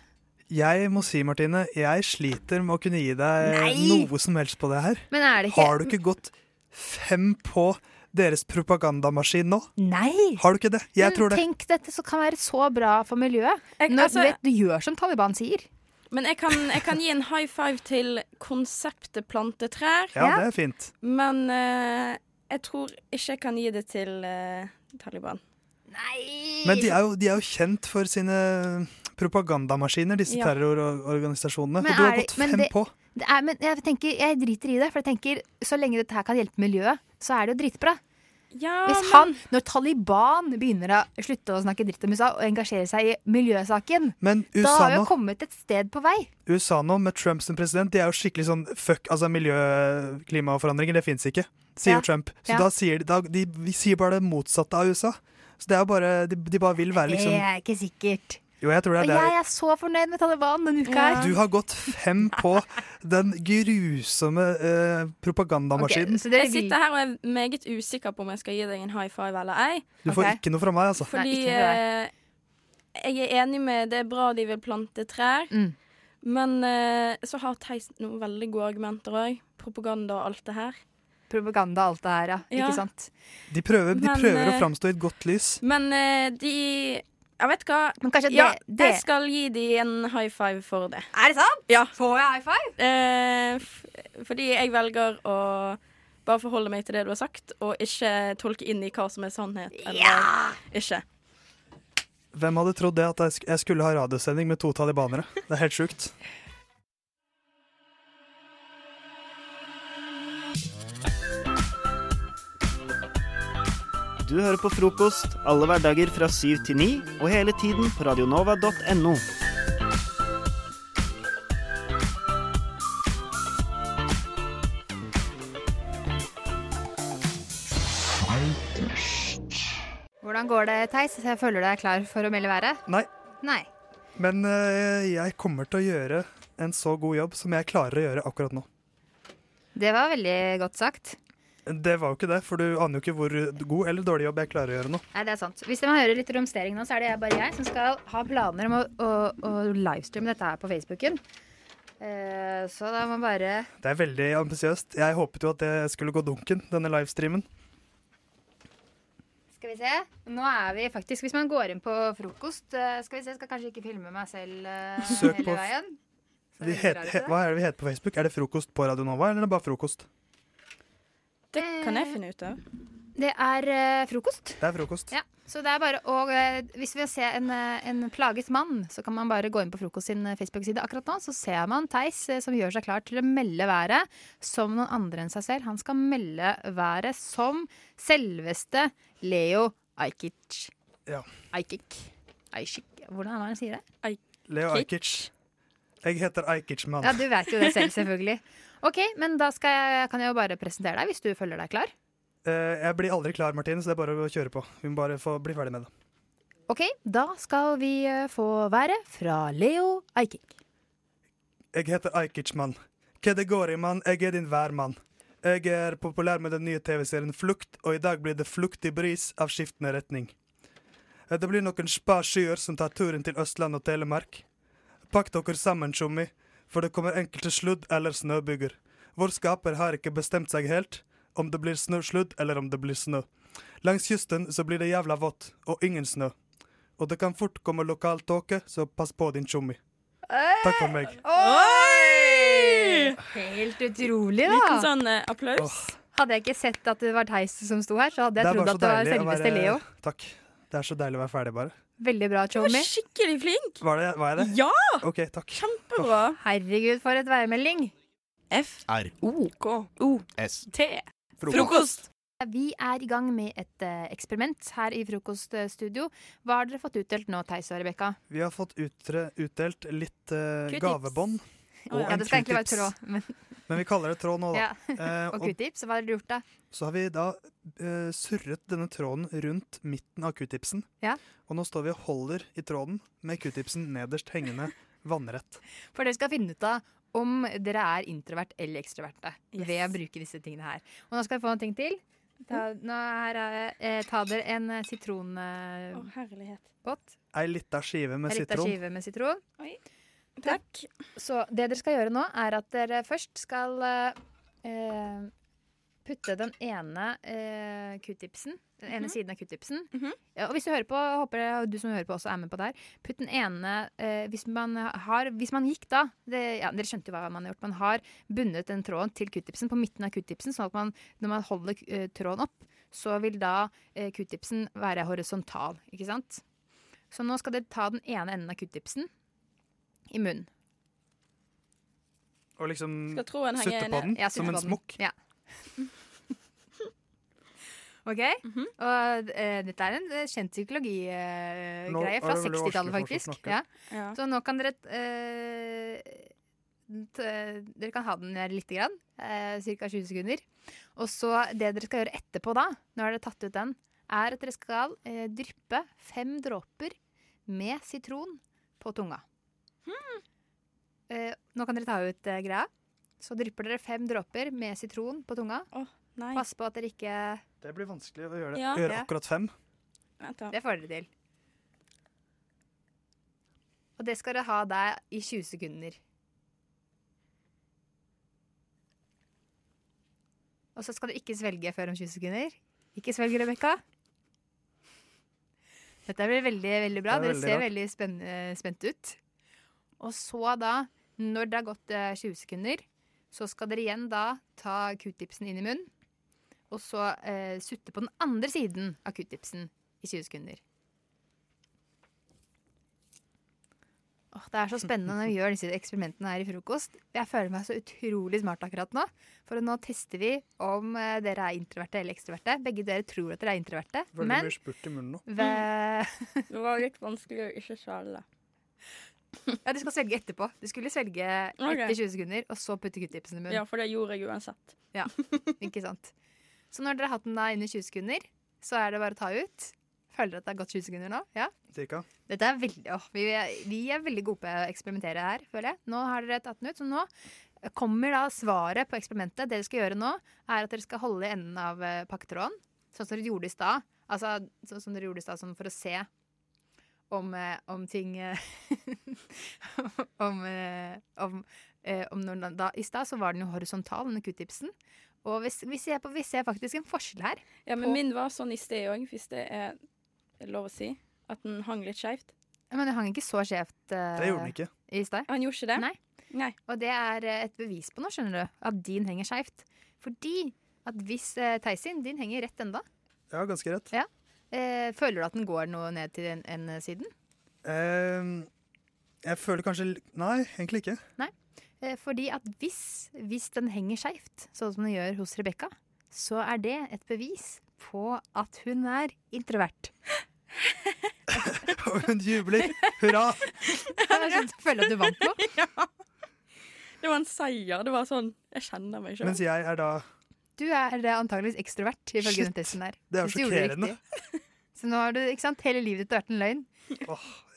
Jeg må si, Martine, jeg sliter med å kunne gi deg
Nei!
noe som helst på det her.
Men er det ikke-
Har du ikke gått fem på deres propagandamaskin nå?
Nei!
Har du ikke det? Jeg
Men
tror det.
Tenk dette som kan være så bra for miljøet.
Jeg-
Når
altså-
du, vet, du gjør som Taliban sier.
Men jeg kan, jeg kan gi en high five til konseptet plante trær.
Ja, det er fint.
Men eh, jeg tror ikke jeg kan gi det til eh, Taliban.
Men de er, jo, de er jo kjent for sine eh, propagandamaskiner, disse
Ja.
terrororganisasjonene. Og du har
er det-
gått
men
fem
det-
på.
Det er, men jeg, tenker, jeg driter i det, for jeg tenker så lenge dette her kan hjelpe miljøet, så er det jo dritbra. Hvis han, Når Taliban begynner å slutte å snakke dritt om USA og engasjere seg i miljøsaken,
Men
da har
USA
vi jo
nå,
kommet et sted på vei.
USA nå, med Trump som president, de er jo skikkelig sånn fuck altså miljø, klimaforandringer, det fins ikke, sier
Ja.
jo Trump. Så
Ja.
da sier de, da, de, de sier bare det motsatte av USA. Så det er jo bare, de, de bare vil være liksom
Det er ikke sikkert.
Jo, jeg tror
Og
det er det.
jeg er så fornøyd med Taliban denne uka her.
Du har gått fem på den grusomme eh, propagandamaskinen.
jeg sitter her og er meget usikker på om jeg skal gi deg en high five eller ei.
Du får ikke noe fra meg, altså.
Fordi eh, jeg er enig med det er bra de vil plante trær.
Mm.
Men eh, så har Theis noen veldig gode argumenter òg. Propaganda og alt det her.
Propaganda og alt det her, ja.
Ja.
Ikke sant?
De prøver, de
Men,
prøver å
eh,
framstå i et godt lys.
Men eh, de Jeg vet hva.
Men kanskje
ja,
det- det-
Jeg skal gi de en high five for det.
Er det sant?
Ja.
Får jeg high five?
Eh, f fordi jeg velger å bare forholde meg til det du har sagt, og ikke tolke inn i hva som er sannhet eller ikke.
Hvem hadde trodd det at jeg sk- jeg skulle ha radiosending med to talibanere? Det er helt sjukt.
Du hører på frokost alle hverdager fra syv til ni, og hele tiden på radionova.no.
Hvordan går det, Theis? Jeg føler du er klar for å melde været.
Nei,
Nei.
men eh, jeg kommer til å gjøre en så god jobb som jeg klarer å gjøre akkurat nå.
Det var veldig godt sagt.
Det var jo ikke det, for du aner jo ikke hvor god eller dårlig jobb jeg klarer å gjøre nå.
Nei, det er sant. Hvis man hører litt romstering nå, så er det jeg- bare jeg som skal ha planer om å, å, å livestreame dette her på Facebooken. Eh, så da må man bare
Det er veldig ambisiøst. Jeg håpet jo at det skulle gå dunken, denne livestreamen.
Skal vi se. Nå er vi faktisk Hvis man går inn på frokost eh, Skal vi se, skal kanskje ikke filme meg selv eh,
Søk
hele
på f-
veien.
Vi het, he, hva er det vi heter på Facebook? Er det Frokost på Radio Nova, eller er det bare Frokost?
Det kan jeg finne ut av.
Eh, Det er eh, frokost.
Det er Frokost.
Ja, så det er bare å eh, Hvis vi vil se en, eh, en plaget mann, så kan man bare gå inn på Frokost sin eh, Facebook-side akkurat nå. Så ser man Theis eh, som gjør seg klar til å melde været som noen andre enn seg selv. Han skal melde været som selveste Leo Ajkic.
Ja.
Ajkic. Ajkic. Hvordan er det han sier det?
Leo Ajkic. Jeg heter Ajkic-mann.
Ja, du vet jo det
[LAUGHS]
selv, selvfølgelig. [LAUGHS] OK, men da skal jeg, kan jeg jo bare presentere deg, hvis du føler deg klar.
Eh, jeg blir aldri klar, Martine, så det er bare å kjøre på. Vi må bare få bli ferdig med det.
OK, da skal vi eh, få været fra Leo Ajkic.
Jeg heter Ajkic-mann. Hva det går i, mann? Jeg er din værmann. Jeg er populær med den nye TV-serien Flukt, og i dag blir det fluktig bris av skiftende retning. Eh, Det blir noen spa skyer som tar turen til Østland og Telemark. Pakk dere sammen, tjommi, for det kommer enkelte sludd- eller snøbyger. Vår skaper har ikke bestemt seg helt om det blir snø, sludd eller om det blir snø. Langs kysten så blir det jævla vått, og ingen snø. Og det kan fort komme lokal tåke, så pass på din tjommi. Takk for meg.
Oi! Helt utrolig, da.
Liten sånn, eh,
applaus.
Hadde jeg ikke sett at det var Theis som sto her, så hadde jeg
er
trodd
bare så
at det var
deilig å
selveste Leo.
Takk. Det er så deilig å være ferdig, bare.
Veldig bra, Tjommi.
Skikkelig flink.
Var, det, var jeg det?
Ja!
OK, takk.
Kjempebra. Herregud, for et værmelding. F.
R.
O.
K.
O.
S.
T.
Frokost. Frokost.
Vi er i gang med et eh, eksperiment her i frokoststudio. Hva har dere fått utdelt nå, Theis og Rebekka?
Vi har fått utre, utdelt litt eh,
Q-tips.
gavebånd og
ja,
en
det skal egentlig være
Q-tips.
tråd. Men,
Men vi kaller det tråd nå, da.
ja.
[LAUGHS] Eh,
[LAUGHS] og
og
Q-tips, hva har dere gjort da?
så har vi da eh, surret denne tråden rundt midten av Q-tipsen.
Ja.
Og nå står vi og holder i tråden med Q-tipsen nederst hengende vannrett.
For dere skal finne ut av om dere er introvert eller ekstroverte ved å bruke disse tingene her. Og nå skal dere få en ting til. Ta, nå her er, eh, ta dere en sitronpott. Eh, pott.
Ei lita skive med
Ei lita
sitron.
skive med sitron. Takk. Så det dere skal gjøre nå, er at dere først skal eh, eh, putte den ene eh, q-tipsen den ene
Mhm.
siden av q-tipsen. ja, og hvis du hører på, jeg håper jeg du som hører på også er med på der. Putt den ene eh, hvis, man har, hvis man gikk da det, ja, Dere skjønte jo hva man har gjort. Man har bundet den tråden til q-tipsen på midten av q-tipsen, sånn at man, når man holder eh, tråden opp, så vil da eh, q-tipsen være horisontal. Ikke sant? Så nå skal dere ta den ene enden av q-tipsen i munnen.
Og liksom
Skal tråden henge
sutte på
ned-
den
Ja,
som
sutte
en
på den.
smokk.
Ja. OK? Og eh, dette er en eh, kjent psykologigreie
Nå
greie
er
fra
det veldig
60-tallet,
vanskelig
faktisk.
for oss å snakke.
Ja.
Ja.
Så nå kan dere eh, t eh, Dere kan ha den der lite grann. Eh, Ca. 20 sekunder. Og så det dere skal gjøre etterpå da, når dere har tatt ut den, er at dere skal eh, dryppe fem dråper med sitron på tunga. Eh, nå kan dere ta ut eh, greia. Så drypper dere fem dråper med sitron på tunga. Pass på at dere ikke
Det blir vanskelig å gjøre, det.
Ja.
gjøre
Ja.
akkurat fem.
Det får dere til. Og det skal dere ha der i 20 sekunder. Og så skal du ikke svelge før om 20 sekunder. Ikke svelg, Rebekka. Dette blir veldig veldig bra.
Det er
Dere
veldig
ser
rart.
veldig spenn, eh, spent ut. Og så da, når det har gått eh, 20 sekunder, så skal dere igjen da ta q-tipsen inn i munnen. Og så eh, sutte på den andre siden av q-tipsen i 20 sekunder. Åh, det er så spennende når vi gjør disse eksperimentene her i frokost. Jeg føler meg så utrolig smart akkurat nå. For nå tester vi om eh, dere er introverte eller ekstroverte. Begge dere tror at dere er introverte.
Veldig
men
mye spurt i munnen nå. Mm,
ve- [LAUGHS]
Det var litt vanskelig å ikke svale.
ja, du skal svelge etterpå. Du skulle svelge etter
Ok.
20 sekunder, og så putte q-tipsen i munnen.
Ja, for det gjorde jeg uansett.
Ja, ikke sant. Så når dere har hatt den da inne i 20 sekunder, så er det bare å ta ut. Føler dere at det har gått 20 sekunder nå? Ja.
Cirka.
Dette er veldig, åh, vi, er, vi er veldig gode på å eksperimentere her, føler jeg. Nå har dere tatt den ut, så nå kommer da svaret på eksperimentet. Det dere skal gjøre nå, er at dere skal holde i enden av eh, pakketråden, sånn som dere gjorde i stad. Altså, sånn som dere gjorde i stad, sånn for å se om, eh, om ting eh, [LAUGHS] om, eh, om, eh, om når, den- da, I stad så var den jo horisontal, denne q-tipsen. Og vi, s- vi, ser på, vi ser faktisk en forskjell her.
Ja, men
på-
min var sånn i sted òg, hvis det er lov å si. At den hang litt skeivt.
Ja, Men det hang ikke så skjevt eh,
Det gjorde den ikke.
i stad.
Han gjorde ikke det?
Nei. Og det er eh, et bevis på nå, skjønner du, at din henger skjevt. Fordi at hvis eh, Theisin, din henger rett enda.
Ja, ganske rett.
Ja. Eh, føler du at den går noe ned til en, en siden?
Ehm, jeg føler kanskje l- Nei, egentlig ikke. [LAUGHS]
Nei. Eh, Fordi at hvis, hvis den henger skeivt, sånn som den gjør hos Rebekka, så er det et bevis på at hun er introvert.
Og hun jubler! Hurra!
Jeg sånn, føler at du vant
[LAUGHS]
noe.
Det var en seier. Det var sånn Jeg kjenner meg sjøl.
Mens jeg er da
Du er eh, antageligvis ekstrovert, ifølge
Shit.
den testen der.
Det er
Hvis du gjorde
sjokkerende.
riktig. Så nå har du, ikke sant, hele livet ditt har vært en løgn.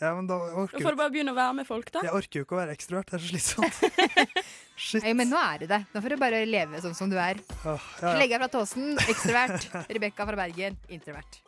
Ja, men da
Da
orker
får
jeg,
du bare begynne å være med folk, da.
jeg orker jo ikke å være ekstrovert. Det er så slitsomt.
Nei, men nå er du det. Nå får du bare leve sånn som du er.
Åh, ja, ja.
Legge deg fra Tåsen, ekstrovert. Rebekka fra Bergen, introvert.